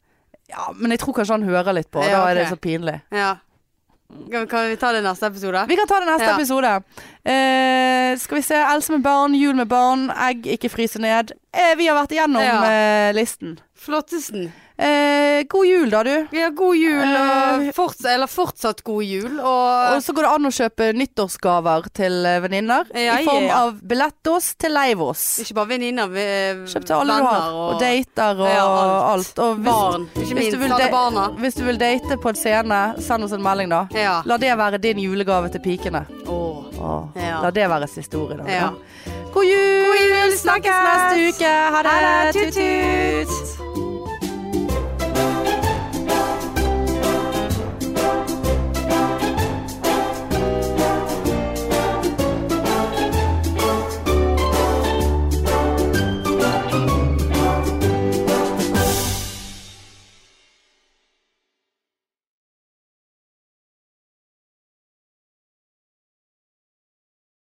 Speaker 1: Ja, Men jeg tror kanskje han hører litt på.
Speaker 2: Ja,
Speaker 1: Da er det
Speaker 2: ok.
Speaker 1: så pinlig.
Speaker 2: Ja. Kan, kan vi ta det i neste episode?
Speaker 1: Vi kan ta det neste
Speaker 2: Ja.
Speaker 1: episode. Eh, skal vi se. Else med barn, jul med barn, egg ikke fryse ned. Eh, vi har vært igjennom
Speaker 2: Ja.
Speaker 1: eh, listen.
Speaker 2: Flottesen.
Speaker 1: Eh, god jul, da, du.
Speaker 2: Ja, god jul, og
Speaker 1: Eh,
Speaker 2: forts eller fortsatt god jul.
Speaker 1: Og
Speaker 2: Og
Speaker 1: så går det an å kjøpe nyttårsgaver til eh, venninner.
Speaker 2: Ja,
Speaker 1: I form
Speaker 2: ja.
Speaker 1: av billettos til Leivås.
Speaker 2: ikke bare venninner, vi- eh,
Speaker 1: Kjøp til alle du har.
Speaker 2: venner
Speaker 1: Og dater og
Speaker 2: Ja, alt.
Speaker 1: alt. Og hvis,
Speaker 2: barn. Ikke
Speaker 1: hvis, du
Speaker 2: minst
Speaker 1: vil
Speaker 2: alle
Speaker 1: da-
Speaker 2: barna.
Speaker 1: hvis du vil date på en scene, send oss en melding, da.
Speaker 2: Ja.
Speaker 1: La det være din julegave til pikene.
Speaker 2: Åh.
Speaker 1: Åh,
Speaker 2: Ja.
Speaker 1: La det være siste ord i dag.
Speaker 2: Ja.
Speaker 1: da. God jul!
Speaker 2: God jul,
Speaker 1: Snakkes neste uke. Ha det.
Speaker 2: Ha det.
Speaker 1: Tut-tut.
Speaker 2: Tut-tut.